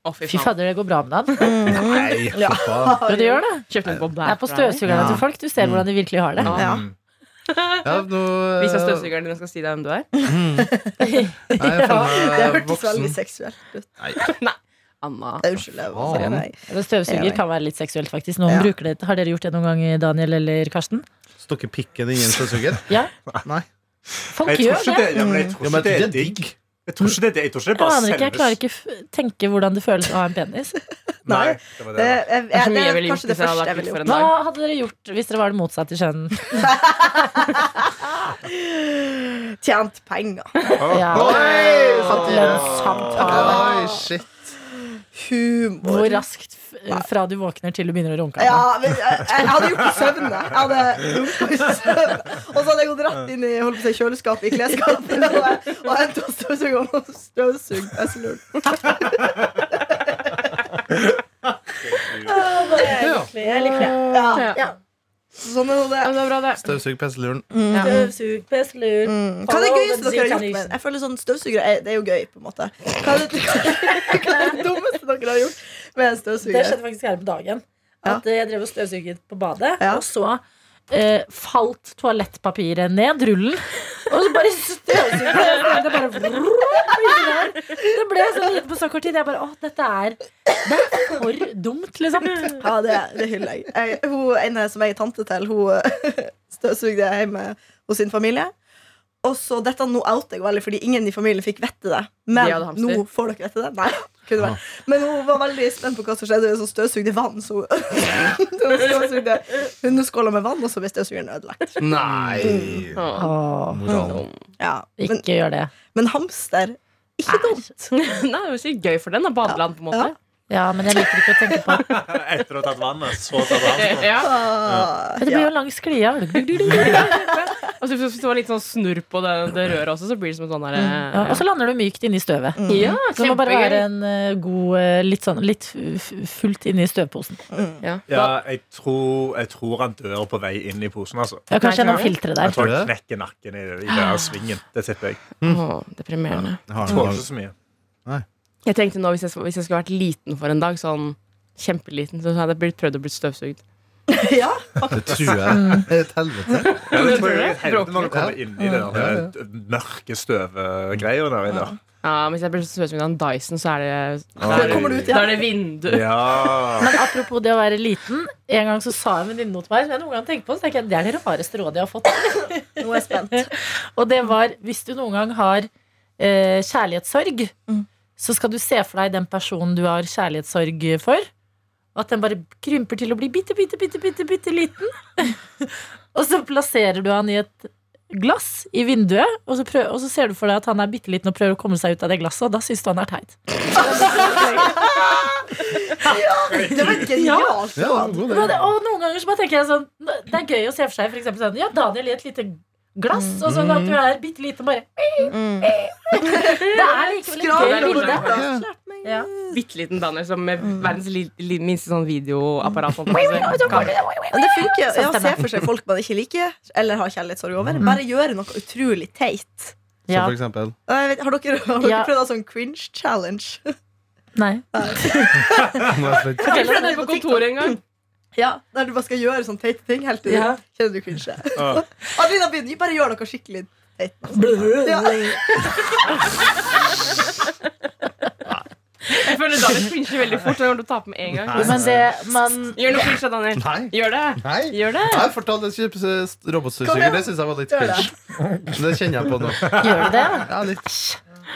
Speaker 2: Å, fy
Speaker 6: Fy
Speaker 2: faen.
Speaker 6: fader, det går bra med den.
Speaker 4: Nei,
Speaker 3: Ja.
Speaker 4: for faen.
Speaker 6: Ja, det gjør det.
Speaker 2: Kjøpte den på
Speaker 6: Det er på støvsugerne til folk. Du ser hvordan de virkelig har det.
Speaker 3: Ja.
Speaker 4: Mm. Ja, nå, uh,
Speaker 2: Vis meg støvsugeren din, jeg skal si deg hvem du er.
Speaker 4: Nei, jeg
Speaker 3: Det
Speaker 4: føler
Speaker 3: hørtes
Speaker 4: meg
Speaker 3: veldig
Speaker 4: voksen.
Speaker 3: seksuelt ut.
Speaker 2: Anna.
Speaker 3: Nei, Unnskyld. Jeg var
Speaker 4: Faen.
Speaker 3: seriøs.
Speaker 6: Men Støvsuger kan være litt seksuelt, faktisk. Noen
Speaker 3: Ja.
Speaker 6: bruker det. Har dere gjort det noen gang, Daniel eller Karsten?
Speaker 4: Stokker pikken inn i en støvsuger?
Speaker 6: Ja?
Speaker 4: Nei.
Speaker 6: Folk
Speaker 5: Jeg tror
Speaker 6: gjør
Speaker 5: ikke
Speaker 6: det.
Speaker 5: det, ja, men jeg tror
Speaker 4: Ja, men
Speaker 5: ikke det
Speaker 4: det
Speaker 5: er digg. Jeg tror ikke det er det. Jeg tror ikke det er
Speaker 6: Jeg
Speaker 5: bare
Speaker 6: aner ikke, jeg klarer
Speaker 5: selve
Speaker 6: ikke f- tenke hvordan det føles å ha en penis.
Speaker 5: Nei, det var
Speaker 3: Det,
Speaker 2: Det
Speaker 3: jeg,
Speaker 5: det.
Speaker 2: er så
Speaker 3: det
Speaker 2: Altså, mye jeg
Speaker 3: er
Speaker 2: ville gjort
Speaker 3: kanskje det
Speaker 2: hvis jeg hadde
Speaker 3: første
Speaker 2: vært
Speaker 3: jeg ville
Speaker 2: ute
Speaker 3: gjort.
Speaker 2: for en
Speaker 6: Hva
Speaker 2: dag.
Speaker 6: hadde dere gjort hvis dere var det motsatte kjønn?
Speaker 3: Tjent penger.
Speaker 6: Ja.
Speaker 4: Oi, sant.
Speaker 6: Lønnssamtale.
Speaker 4: Oi, shit.
Speaker 3: Humor.
Speaker 6: Hvor raskt f- fra du våkner til du begynner å runke? av deg?
Speaker 3: Ja, men jeg, jeg hadde gjort det i søvne. Jeg hadde gjort det i søvne. Og så hadde jeg gått rett inn i holdt på å si, kjøleskapet i klesskapet og, og hentet en støvsuger og støvsugd esselul. Jeg liker det. Ja.
Speaker 2: Ja.
Speaker 3: Sånn er nå
Speaker 2: Ja, men
Speaker 3: det.
Speaker 2: det er bra, det.
Speaker 4: Støvsug pesseluren.
Speaker 6: Støvsug, pesselur
Speaker 3: Mm. Hva er det gøyeste dere har gjort med en? Jeg føler sånn Støvsugere er, det er jo gøy, på en måte. Hva er det, hva er det dummeste dere har gjort med en
Speaker 6: Det
Speaker 3: støvsuger?
Speaker 6: skjedde faktisk her på dagen.
Speaker 3: Ja.
Speaker 6: At eh, jeg drev og støvsuget på badet,
Speaker 3: Ja.
Speaker 6: og så eh, falt toalettpapiret ned rullen. Og så bare støvsugde jeg. så Det, bare vrrr, inni der. det ble så lite på så kort tid. Jeg bare Å, dette er Det er for dumt, liksom.
Speaker 3: Ja, det, det hyller jeg. jeg hun ene som jeg er tante til, hun støvsugde hjemme hos sin familie. Og så dette nå outer jeg veldig, fordi ingen i familien fikk vite det.
Speaker 2: De hadde
Speaker 3: Men
Speaker 2: hamster.
Speaker 3: nå får dere vite det. Nei, kunne vært. Men hun var veldig spent på hva som skjedde. Så støvsugde vann. Så hun støvsugde hundeskåler med vann, og så ble støvsugeren ødelagt.
Speaker 4: Nei!
Speaker 2: Åh.
Speaker 6: Åh,
Speaker 4: Moralen.
Speaker 3: Ja. Men,
Speaker 6: ikke gjør det.
Speaker 3: men hamster ikke dumt.
Speaker 2: Nei, det var sikkert gøy for den, da. Badeland, på en måte.
Speaker 6: Ja, men jeg liker ikke å tenke på at
Speaker 5: Etter å ha tatt vannet, så tar du vannet.
Speaker 2: Ja.
Speaker 3: Ah,
Speaker 6: Det blir jo
Speaker 3: ja.
Speaker 6: en lang sklie.
Speaker 2: Og så hvis det var litt sånn snurr på det, det røret også, så blir det som en sånn derre
Speaker 6: Mm. Ja, og så lander du mykt inni støvet.
Speaker 2: Ja,
Speaker 6: Så det må bare være
Speaker 2: Mm. kjempegøy.
Speaker 6: en eh, god eh, litt sånn litt f- f- fullt inni støvposen.
Speaker 3: Mm,
Speaker 2: Ja.
Speaker 5: Ja, jeg tror, jeg tror han dør på vei inn i posen, altså.
Speaker 6: Ja, kanskje
Speaker 2: Nei,
Speaker 6: gjennom filteret der.
Speaker 5: Jeg tror
Speaker 4: Tror
Speaker 5: han
Speaker 4: du
Speaker 5: knekker nakken i, i den svingen. Det tipper jeg.
Speaker 2: Åh, deprimerende.
Speaker 4: Jeg har
Speaker 5: Jeg
Speaker 4: en
Speaker 5: tror
Speaker 4: gang-
Speaker 5: ikke så mye.
Speaker 2: Jeg tenkte nå, hvis jeg, hvis jeg skulle vært liten for en dag, sånn kjempeliten, så hadde jeg blitt, prøvd å bli støvsugd.
Speaker 3: ja.
Speaker 4: Det tror jeg er et helvete.
Speaker 5: Ja, det tror
Speaker 2: tror
Speaker 5: jeg er
Speaker 2: jeg.
Speaker 5: et helvete når du kommer
Speaker 4: Ja.
Speaker 5: inn i det der eh, mørke støvegreia der inne.
Speaker 2: Ja, men Hvis jeg blir støvsugd av en Dyson, så er det, da
Speaker 4: Oi.
Speaker 2: er det,
Speaker 3: Kommer du ut
Speaker 2: da
Speaker 3: igjen?
Speaker 2: er det vindu.
Speaker 5: Ja.
Speaker 6: Men apropos det å være liten. En gang så sa en venninne noe til meg som jeg noen gang tenkte på. Så tenkte jeg, Det er det rareste rådet jeg har fått.
Speaker 3: Nå er jeg spent.
Speaker 6: Og det var hvis du noen gang har eh, kjærlighetssorg,
Speaker 4: Mm.
Speaker 6: så skal du se for deg den personen du har kjærlighetssorg for. Og at den bare krymper til å bli bitte, bitte, bitte, bitte, bitte liten. og så plasserer du han i et glass i vinduet, og så, prøv, og så ser du for deg at han er bitte liten og prøver å komme seg ut av det glasset, og da syns du han er teit.
Speaker 3: Det var genialt.
Speaker 4: Ja, det er en god
Speaker 6: Men,
Speaker 4: idé.
Speaker 6: det- og noen ganger så bare tenker jeg sånn Det er gøy å se for seg for eksempel sånn Ja, Daniel i et lite glass, og sånn at du
Speaker 4: Mm.
Speaker 6: er bitte liten, bare
Speaker 3: Mm.
Speaker 6: Det er likevel et
Speaker 3: Skrap
Speaker 6: gøy
Speaker 3: over
Speaker 6: bilde.
Speaker 2: bildet.
Speaker 4: Ja.
Speaker 6: Ja.
Speaker 2: Bitte liten Daniel som med verdens li, li, minste sånn videoapparat. Sånn, altså,
Speaker 3: Men det funker jo. Ja,
Speaker 6: Sånn
Speaker 3: se
Speaker 6: stemmer. Mm.
Speaker 3: for seg folk man ikke liker, eller har kjærlighetssorg over. Bare gjøre noe utrolig teit.
Speaker 4: Så
Speaker 6: Ja.
Speaker 4: for eksempel
Speaker 3: Og jeg vet- Har dere, har dere
Speaker 6: Ja.
Speaker 3: prøvd å ha sånn cringe challenge?
Speaker 6: Nei.
Speaker 4: Nå er jeg spent.
Speaker 2: jeg prøvde det på kontoret en gang.
Speaker 3: Ja, Der du bare skal gjøre sånne teite ting helt til
Speaker 6: Ja.
Speaker 3: kjenner du cringe.
Speaker 5: Ja.
Speaker 3: Adelina begynner. Bare gjør noe skikkelig teit. Ja.
Speaker 2: Jeg føler Daniel flinsjer veldig fort. så Jeg kommer til å tape med en gang.
Speaker 6: Jo, Men det man
Speaker 2: Gjør noe flinsj da, Daniel.
Speaker 4: Nei.
Speaker 2: Gjør det.
Speaker 4: Nei.
Speaker 2: Gjør det.
Speaker 4: Jeg fortalte ikke robotstøvsuger. eh, Det syns jeg var litt
Speaker 3: Gjør det.
Speaker 4: cringe. Men Det kjenner jeg på nå.
Speaker 6: gjør det,
Speaker 4: Ja, litt.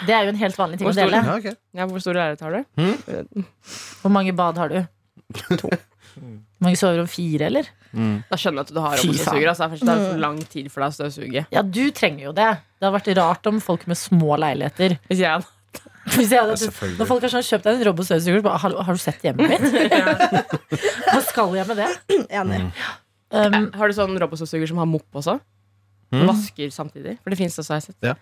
Speaker 6: det er jo en helt vanlig ting å
Speaker 2: Hvor stor-
Speaker 6: dele.
Speaker 4: Ja, ok.
Speaker 2: Ja, hvor stor lerret har du?
Speaker 6: Hvor mange bad har du? To. Hvor mange sover om fire, eller?
Speaker 2: Da skjønner jeg at du har
Speaker 6: Fy faen.
Speaker 2: robotstøvsuger. Altså, det er for lang tid for deg å støvsuge.
Speaker 6: Ja, du trenger jo det. Det hadde vært rart om folk med små leiligheter
Speaker 2: Hvis jeg hadde
Speaker 6: Hvis jeg hadde,
Speaker 4: selvfølgelig.
Speaker 6: Når folk har sånn kjøpt deg en robotstøvsuger, så bare har, har du sett hjemmet mitt? Hva skal jeg med det?
Speaker 3: Enig.
Speaker 6: Um,
Speaker 2: Har du sånn robotstøvsuger som har mopp også? Vasker samtidig? For det fins også, har jeg sett.
Speaker 4: Ja.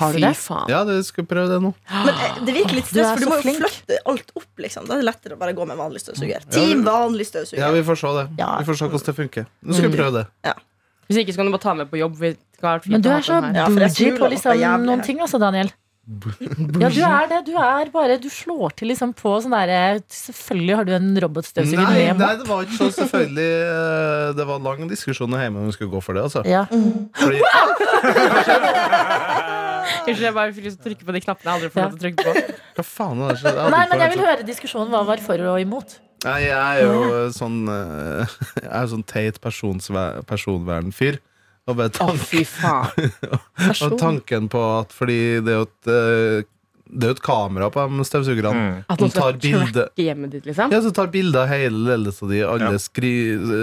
Speaker 6: Har du det?
Speaker 2: Fy faen.
Speaker 4: Ja, du skal prøve det nå.
Speaker 3: Men eh, det virker litt
Speaker 6: Ah, Du er
Speaker 3: stress, for du
Speaker 6: så
Speaker 3: må jo
Speaker 6: flink.
Speaker 3: flytte alt opp. liksom Da er det lettere å bare gå med en vanlig støvsuger.
Speaker 4: Ja,
Speaker 3: Team
Speaker 4: det-
Speaker 3: vanlig
Speaker 4: Ja,
Speaker 3: støvsuger.
Speaker 4: Vi får se det.
Speaker 6: Ja.
Speaker 4: Vi får se hvordan det funker. Nå skal vi prøve det.
Speaker 2: Hvis ikke så kan du bare ta med på jobb. Vi skal ha vært fint
Speaker 6: Men du
Speaker 2: å ha
Speaker 6: er så
Speaker 2: den her.
Speaker 3: Ja, for jeg
Speaker 6: bougie
Speaker 3: smuler
Speaker 6: på
Speaker 3: opp
Speaker 6: liksom
Speaker 3: av jævlig
Speaker 6: noen
Speaker 3: her.
Speaker 6: ting, altså, Daniel. Ja, du er det. Du er bare Du slår til liksom på sånn derre Selvfølgelig har du en robotstøvsuger
Speaker 4: Nei,
Speaker 6: med
Speaker 4: nei, det var ikke så selvfølgelig eh, Det var lang diskusjon hjemme om vi skulle gå for det. Altså.
Speaker 6: Ja.
Speaker 4: Fordi,
Speaker 2: Unnskyld, jeg bare fikk lyst til å trykke på de knappene jeg aldri får lov til å trykke på.
Speaker 4: hva faen er det som-
Speaker 6: Nei, men jeg vil høre diskusjonen. Hva var for og imot?
Speaker 4: sånn- Nei, jeg er jo eh, sånn eh, Jeg er jo sånn teit personsve- personvernfyr. Og, bare
Speaker 2: Å,
Speaker 4: tank,
Speaker 2: fy faen.
Speaker 4: og tanken på at Fordi det er jo et eh, Det er jo et kamera på de støvsugerne.
Speaker 5: Mm.
Speaker 2: At
Speaker 4: De
Speaker 2: noen skal
Speaker 4: tar bilde.
Speaker 2: tracke hjemmet ditt, liksom.
Speaker 4: Ja, så tar bilder av hele ledelsen din, alle,
Speaker 5: Ja.
Speaker 4: skri,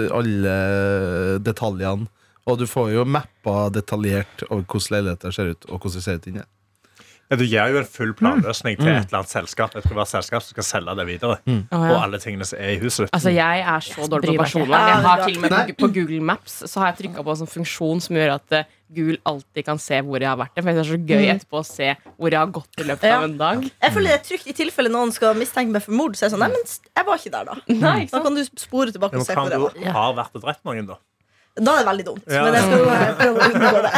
Speaker 4: alle detaljene. Og du får jo mappa detaljert over hvordan leiligheter ser ut, og hvordan det ser ut inni.
Speaker 5: Ja, du gir jo en full planløsning til et eller annet selskap Et privat selskap som skal selge det videre.
Speaker 2: Å,
Speaker 5: Og
Speaker 2: ja.
Speaker 5: alle tingene som er i huset.
Speaker 2: Altså, jeg er så dårlig på
Speaker 6: bryr meg ikke.
Speaker 2: personvern. Jeg har til og med
Speaker 4: Nei.
Speaker 2: på, på Google Maps Så har jeg trykka på en sånn funksjon som gjør at eh, Google alltid kan se hvor jeg har vært. For jeg synes Det er så gøy etterpå å se hvor jeg har gått i løpet
Speaker 3: Ja.
Speaker 2: av en dag.
Speaker 3: Jeg føler det er trygt i tilfelle noen skal mistenke meg for mord. Så er jeg sånn, nei, men jeg var ikke der, da.
Speaker 2: Nei, ikke
Speaker 3: Da
Speaker 2: sant?
Speaker 3: kan du spore tilbake
Speaker 5: Men
Speaker 3: og se
Speaker 5: kan
Speaker 3: hvor jeg
Speaker 5: du
Speaker 3: var.
Speaker 6: Ja.
Speaker 5: ha vært og drept noen, da?
Speaker 3: Da er det veldig dumt.
Speaker 5: Ja.
Speaker 3: Men jeg skal jo eh, prøve å unngå det.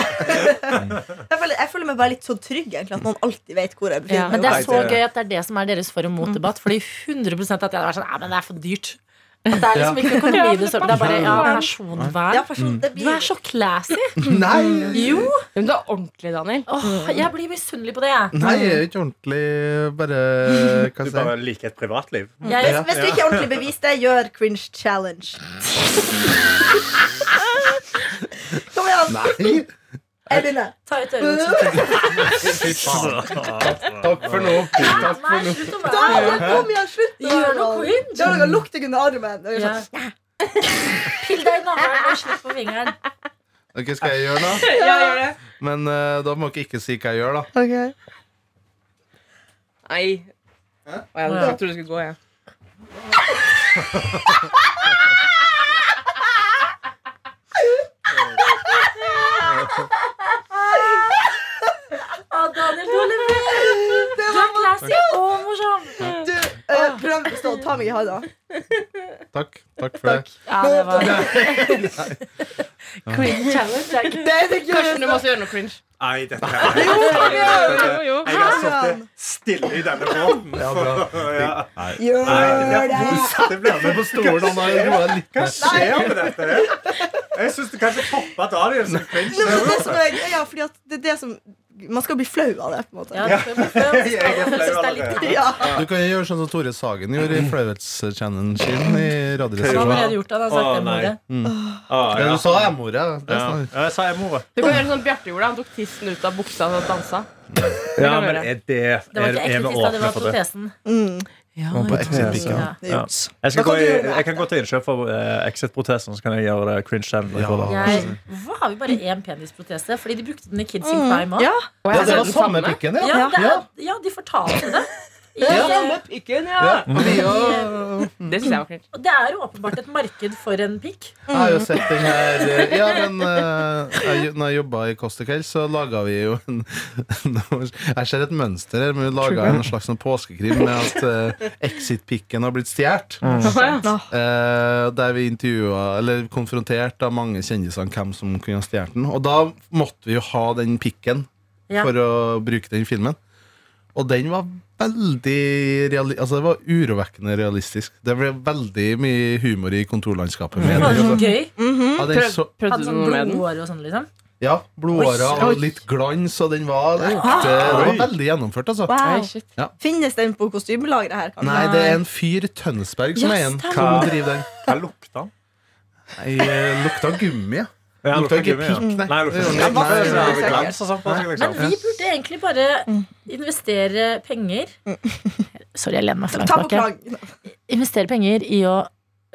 Speaker 3: Jeg føler, jeg føler meg bare litt så trygg, egentlig, at noen alltid vet hvor
Speaker 2: Ja.
Speaker 3: jeg befinner
Speaker 6: Men
Speaker 3: meg.
Speaker 6: det er
Speaker 4: Nei,
Speaker 6: så
Speaker 4: det-
Speaker 6: gøy at det er det som er deres for- og motdebatt. Fordi 100 at jeg hadde vært sånn Nei, men det er for dyrt. At det er liksom ikke økonomi det står Det er bare ja,
Speaker 3: Ja,
Speaker 6: personvern.
Speaker 3: person, det
Speaker 6: Du
Speaker 3: blir
Speaker 6: er så classy.
Speaker 4: Nei!
Speaker 6: Jo! Mm.
Speaker 2: Men du er ordentlig, Daniel.
Speaker 6: Åh, jeg blir misunnelig på det, jeg.
Speaker 4: Nei, jeg er ikke ordentlig bare Hva
Speaker 5: Du
Speaker 4: skal
Speaker 5: bare
Speaker 4: jeg si?
Speaker 5: liker et privatliv.
Speaker 6: jeg
Speaker 4: Ja.
Speaker 3: Hvis du ikke er ordentlig bevist det, gjør cringe challenge. Kom igjen.
Speaker 4: Nei!
Speaker 3: Jeg begynner.
Speaker 6: tar ut øret.
Speaker 4: Takk for nå. Takk
Speaker 6: Nei,
Speaker 4: for nå.
Speaker 6: slutt å
Speaker 3: Da,
Speaker 6: være
Speaker 3: kom igjen, slutt. å-
Speaker 6: Gjør noe cringe.
Speaker 3: Gjør noe, Lukt deg under armen. Og gjør
Speaker 6: Ja.
Speaker 3: sånn.
Speaker 6: Pill deg i navlen og slipp på fingeren.
Speaker 4: Ok, skal jeg gjøre det?
Speaker 2: Ja, gjør det.
Speaker 4: Men eh, da må dere ikke si hva jeg gjør, da.
Speaker 2: Nei. Å, jeg, jeg trodde du skulle gå, jeg.
Speaker 6: Å, Daniel, du har levert! Du er classy og morsom.
Speaker 3: Du, eh, prøv å stå. Ta meg i hånda.
Speaker 4: Takk. Takk for det.
Speaker 6: Ja, det var Cringe challenge. er ikke-
Speaker 3: Det er det
Speaker 2: Karsten, du må
Speaker 3: gøyeste.
Speaker 2: også gjøre noe cringe.
Speaker 5: Nei, dette
Speaker 2: Jo,
Speaker 5: her
Speaker 2: jo.
Speaker 5: Jeg har sittet stille i denne båten.
Speaker 4: Ja, bra.
Speaker 5: Ja.
Speaker 3: Gjør det.
Speaker 5: Det ble
Speaker 4: Jeg er på stolen, han har roa litt.
Speaker 5: Hva skjer med dette? Jeg syns du kanskje toppa Daniel sin
Speaker 3: Det
Speaker 5: cringe.
Speaker 3: er det som er, ja, fordi at det er det som Man skal bli flau av det, på en måte.
Speaker 6: Ja, det var flau.
Speaker 5: Jeg er flau allerede.
Speaker 3: Ja.
Speaker 4: Du kan jo gjøre sånn som Tore Sagen gjorde i Flauhets-challenge sin i
Speaker 6: Han har allerede
Speaker 4: Radioresepsjonen.
Speaker 6: gjort det. Han har
Speaker 5: Å,
Speaker 6: sagt det
Speaker 5: nei.
Speaker 6: mordet.
Speaker 4: Ja,
Speaker 5: Ah, ja.
Speaker 4: du sa M-ordet. Det er sånn-
Speaker 5: Ja.
Speaker 4: snart.
Speaker 5: Ja, Jeg sa emordet.
Speaker 2: Du kan gjøre sånn Bjarte gjorde. Han tok tissen ut av buksa og dansa.
Speaker 5: Ja,
Speaker 2: kan
Speaker 5: men
Speaker 2: vi
Speaker 5: er det
Speaker 6: Det var
Speaker 5: er-
Speaker 6: ikke
Speaker 5: Er
Speaker 6: ekte
Speaker 5: vi
Speaker 6: tiss, da.
Speaker 5: åpne
Speaker 6: Det var
Speaker 5: for det?
Speaker 6: protesen.
Speaker 3: Mm.
Speaker 4: Må på exit-pikken.
Speaker 6: Ja.
Speaker 3: Det er
Speaker 5: Ja.
Speaker 3: juks.
Speaker 5: Jeg, skal
Speaker 3: Da kan
Speaker 5: gå i,
Speaker 3: du gjøre det
Speaker 5: jeg kan gå til innkjøp for eh, Exit-protesen, så kan jeg gjøre det cringe challenge.
Speaker 4: Ja.
Speaker 5: etterpå, da.
Speaker 6: Jeg, hvorfor har vi bare én penisprotese? Fordi de brukte den i Kids in Crime òg.
Speaker 3: Ja.
Speaker 2: Og
Speaker 4: Ja,
Speaker 2: jeg
Speaker 4: det
Speaker 2: ser
Speaker 4: var
Speaker 2: den
Speaker 4: samme
Speaker 2: samme.
Speaker 4: pikken, ja.
Speaker 6: Ja, det
Speaker 4: Ja.
Speaker 6: er- ja, de fortalte det. I,
Speaker 2: pikken, ja.
Speaker 4: Vi har-
Speaker 2: Det syns jeg var cringe.
Speaker 6: og det er jo åpenbart et marked for en pikk.
Speaker 4: Jeg har jo sett den her eh, Ja, men eh, jeg, når jeg jobba i Kåss til Kvelds, så laga vi jo en Jeg ser et mønster her, men vi laga en slags sånn påskekrim med at eh, Exit-pikken har blitt stjålet. Eh, der vi intervjua, eller konfronterte av mange kjendiser hvem som kunne ha stjålet den. Og da måtte vi jo ha den pikken
Speaker 6: Ja.
Speaker 4: for å bruke den i filmen. Og den var veldig reali Altså det var urovekkende realistisk. Det ble veldig mye humor i kontorlandskapet. Med
Speaker 6: Det
Speaker 4: den,
Speaker 6: var
Speaker 4: altså.
Speaker 6: så sånn gøy.
Speaker 4: ja, den
Speaker 2: Prøv-
Speaker 4: så,
Speaker 2: Prøvde
Speaker 6: Hadde
Speaker 2: du
Speaker 6: sånn
Speaker 2: noe med den?
Speaker 6: blodåre og sånn, liksom.
Speaker 4: ja, blodårer
Speaker 6: Oi.
Speaker 4: og litt glans, og den var ekte. Det var veldig gjennomført, altså.
Speaker 2: Oi,
Speaker 3: Wow.
Speaker 2: shit.
Speaker 3: Finnes den på kostymelageret her? kanskje?
Speaker 4: Nei, det er en fyr i Tønsberg som
Speaker 3: Ja,
Speaker 4: er en
Speaker 3: stemmer.
Speaker 4: som driver den.
Speaker 5: Hva lukta han?
Speaker 4: Nei, eh, lukta gummi, ja.
Speaker 5: Ja,
Speaker 4: Lukta ikke
Speaker 5: gummi, ja.
Speaker 4: pikk, nei.
Speaker 5: Nei, lukta
Speaker 4: Nei,
Speaker 5: ikke pikk.
Speaker 3: nei,
Speaker 5: Det var
Speaker 3: nei.
Speaker 5: glans og sånt på seg,
Speaker 6: Men
Speaker 5: liksom.
Speaker 6: vi burde egentlig bare investere penger Mm. Sorry, jeg lener meg for langt
Speaker 3: Ta på
Speaker 6: tilbake.
Speaker 3: klang.
Speaker 6: Investere penger i å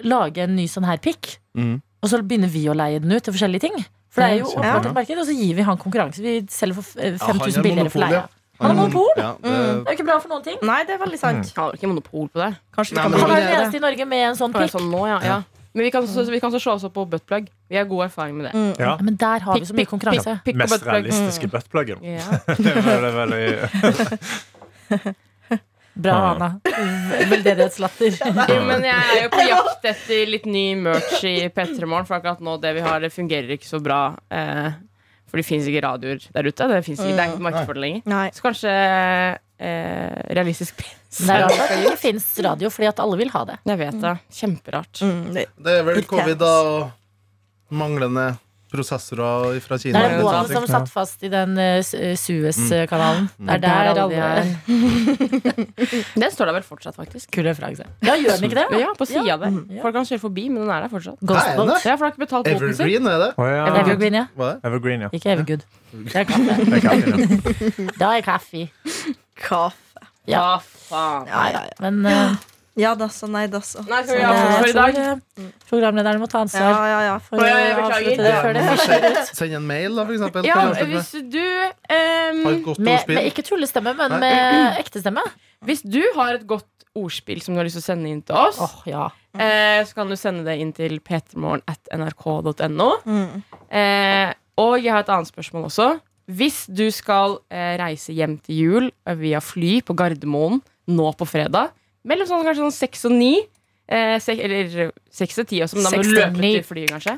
Speaker 6: lage en ny sånn her pikk,
Speaker 4: Mm.
Speaker 6: og så begynner vi å leie den ut til forskjellige ting. For det er jo
Speaker 4: Ja,
Speaker 6: åpenbart
Speaker 4: kjempebra.
Speaker 6: et marked, og så gir vi han konkurranse. Vi selger for eh,
Speaker 4: Ja, han
Speaker 6: 5000
Speaker 4: har
Speaker 6: billigere for
Speaker 4: monopol,
Speaker 6: leia.
Speaker 4: ja.
Speaker 6: Han har monopol. Mm.
Speaker 4: Ja, det,
Speaker 6: Det er jo ikke bra for noen ting.
Speaker 3: Nei, det er veldig sant.
Speaker 2: Han har ikke monopol på det.
Speaker 3: Kanskje vi
Speaker 4: Nei,
Speaker 3: kan
Speaker 4: men-
Speaker 6: Han
Speaker 3: bare
Speaker 6: er den
Speaker 3: gjøre det.
Speaker 6: eneste i Norge med en sånn
Speaker 2: Bare
Speaker 6: pikk.
Speaker 2: sånn nå, ja, ja. Men vi kan, så, vi kan så slå oss opp på buttplug. Vi har god erfaring med det.
Speaker 5: Ja.
Speaker 6: Ja, Men der har vi så mye konkurranse.
Speaker 2: pikk og
Speaker 5: Mest
Speaker 2: buttplug.
Speaker 5: realistiske buttpluggen.
Speaker 2: Ja.
Speaker 5: Det var det veldig-
Speaker 6: Bra, Hanna. Veldedighetslatter.
Speaker 2: Jo, men jeg er jo på jakt etter litt ny merch i P3 Morgen, for akkurat nå det vi har, det fungerer ikke så bra. Eh, for det fins ikke radioer der ute. Det, finnes ikke, det er ikke marked for det lenger.
Speaker 3: Nei.
Speaker 2: Så kanskje eh, realistisk pris.
Speaker 6: Det er rart at det ikke fins radio, fordi at alle vil ha det.
Speaker 2: Jeg vet det. Kjemperart.
Speaker 3: Mm, det-
Speaker 4: det er vel
Speaker 6: Litt
Speaker 4: covid da, og manglende prosessorer fra
Speaker 6: Det
Speaker 4: Kina. Sånn
Speaker 6: er det
Speaker 4: eller noe
Speaker 6: båten
Speaker 4: sånt.
Speaker 6: som satt fast i den eh, Su- eh, Suezkanalen. Det er
Speaker 2: Der
Speaker 6: der
Speaker 2: alle
Speaker 6: alle
Speaker 2: de Den står der vel fortsatt, faktisk.
Speaker 6: kulefragse Ja, gjør den ikke det?
Speaker 2: Ja, Mm. på sida der.
Speaker 6: ja.
Speaker 2: Folk kan kjøre forbi, men den er der fortsatt.
Speaker 4: Nei,
Speaker 6: Ghostboat.
Speaker 2: Ja, for de har ikke betalt boten sin.
Speaker 4: Evergreen, er det?
Speaker 5: Å, ja.
Speaker 6: Evergreen, ja.
Speaker 4: Hva er det?
Speaker 5: Evergreen, ja.
Speaker 6: Ikke Evergood. Det er kaffe.
Speaker 5: Det er kaffen, ja.
Speaker 6: Da er kaffe.
Speaker 3: Kaffe.
Speaker 2: Ja, faen.
Speaker 3: Ja, ja, ja.
Speaker 6: Men eh,
Speaker 3: ja da, så nei da, så.
Speaker 2: Nei, skal
Speaker 6: det
Speaker 2: vi avslutte
Speaker 6: er-
Speaker 2: for i
Speaker 6: jeg
Speaker 2: dag?
Speaker 6: tror eh, programlederen må ta
Speaker 3: Ja,
Speaker 6: ansvar
Speaker 3: ja, ja.
Speaker 6: for å
Speaker 2: Å, ja, jeg beklager.
Speaker 6: avslutte det før det
Speaker 4: Send- Send en mail, da, for eksempel.
Speaker 2: Ja,
Speaker 4: Kan jeg
Speaker 2: hvis
Speaker 4: avslutte
Speaker 2: du
Speaker 4: med? Har
Speaker 2: ehm,
Speaker 4: et godt
Speaker 6: Med,
Speaker 4: ordspill.
Speaker 6: med ikke tullestemme, men
Speaker 4: Nei.
Speaker 6: med ekte stemme.
Speaker 2: Hvis du har et godt ordspill som du har lyst til å sende inn til oss,
Speaker 6: Åh, ja.
Speaker 2: eh, så kan du sende det inn til ptmorgen at nrk.no.
Speaker 3: Mm.
Speaker 2: Eh, og jeg har et annet spørsmål også. Hvis du skal eh, reise hjem til jul eh, via fly på Gardermoen nå på fredag, mellom sånn, kanskje sånn seks og ni eh, sek, Eller seks til ti også, men da må
Speaker 6: Seks
Speaker 2: du
Speaker 6: til
Speaker 2: løpe
Speaker 6: ni.
Speaker 2: til flyet, kanskje.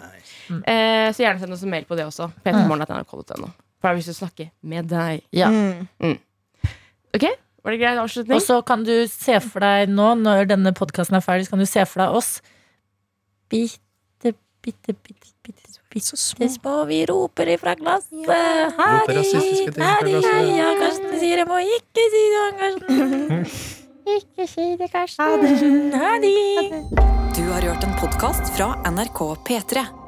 Speaker 2: Eh, så gjerne send oss en mail på det også.
Speaker 6: Mm.
Speaker 2: p3morgen.nrk.no. For jeg har lyst til å snakke med deg.
Speaker 6: ja.
Speaker 3: Mm.
Speaker 2: Var det greit
Speaker 6: Og
Speaker 2: avslutning?
Speaker 6: så kan du se for deg nå, når denne podkasten er ferdig, så kan du se for deg oss bitte, bitte, bitte, bitte, bitte små. Vi roper ifra glasset.
Speaker 4: Roper rasistiske ting fra
Speaker 6: herri,
Speaker 4: glasset.
Speaker 6: ja, Karsten sier jeg må ikke si det, han, Karsten. Ikke si det, Karsten. Herri.
Speaker 1: Du har hørt en podkast fra NRK P3.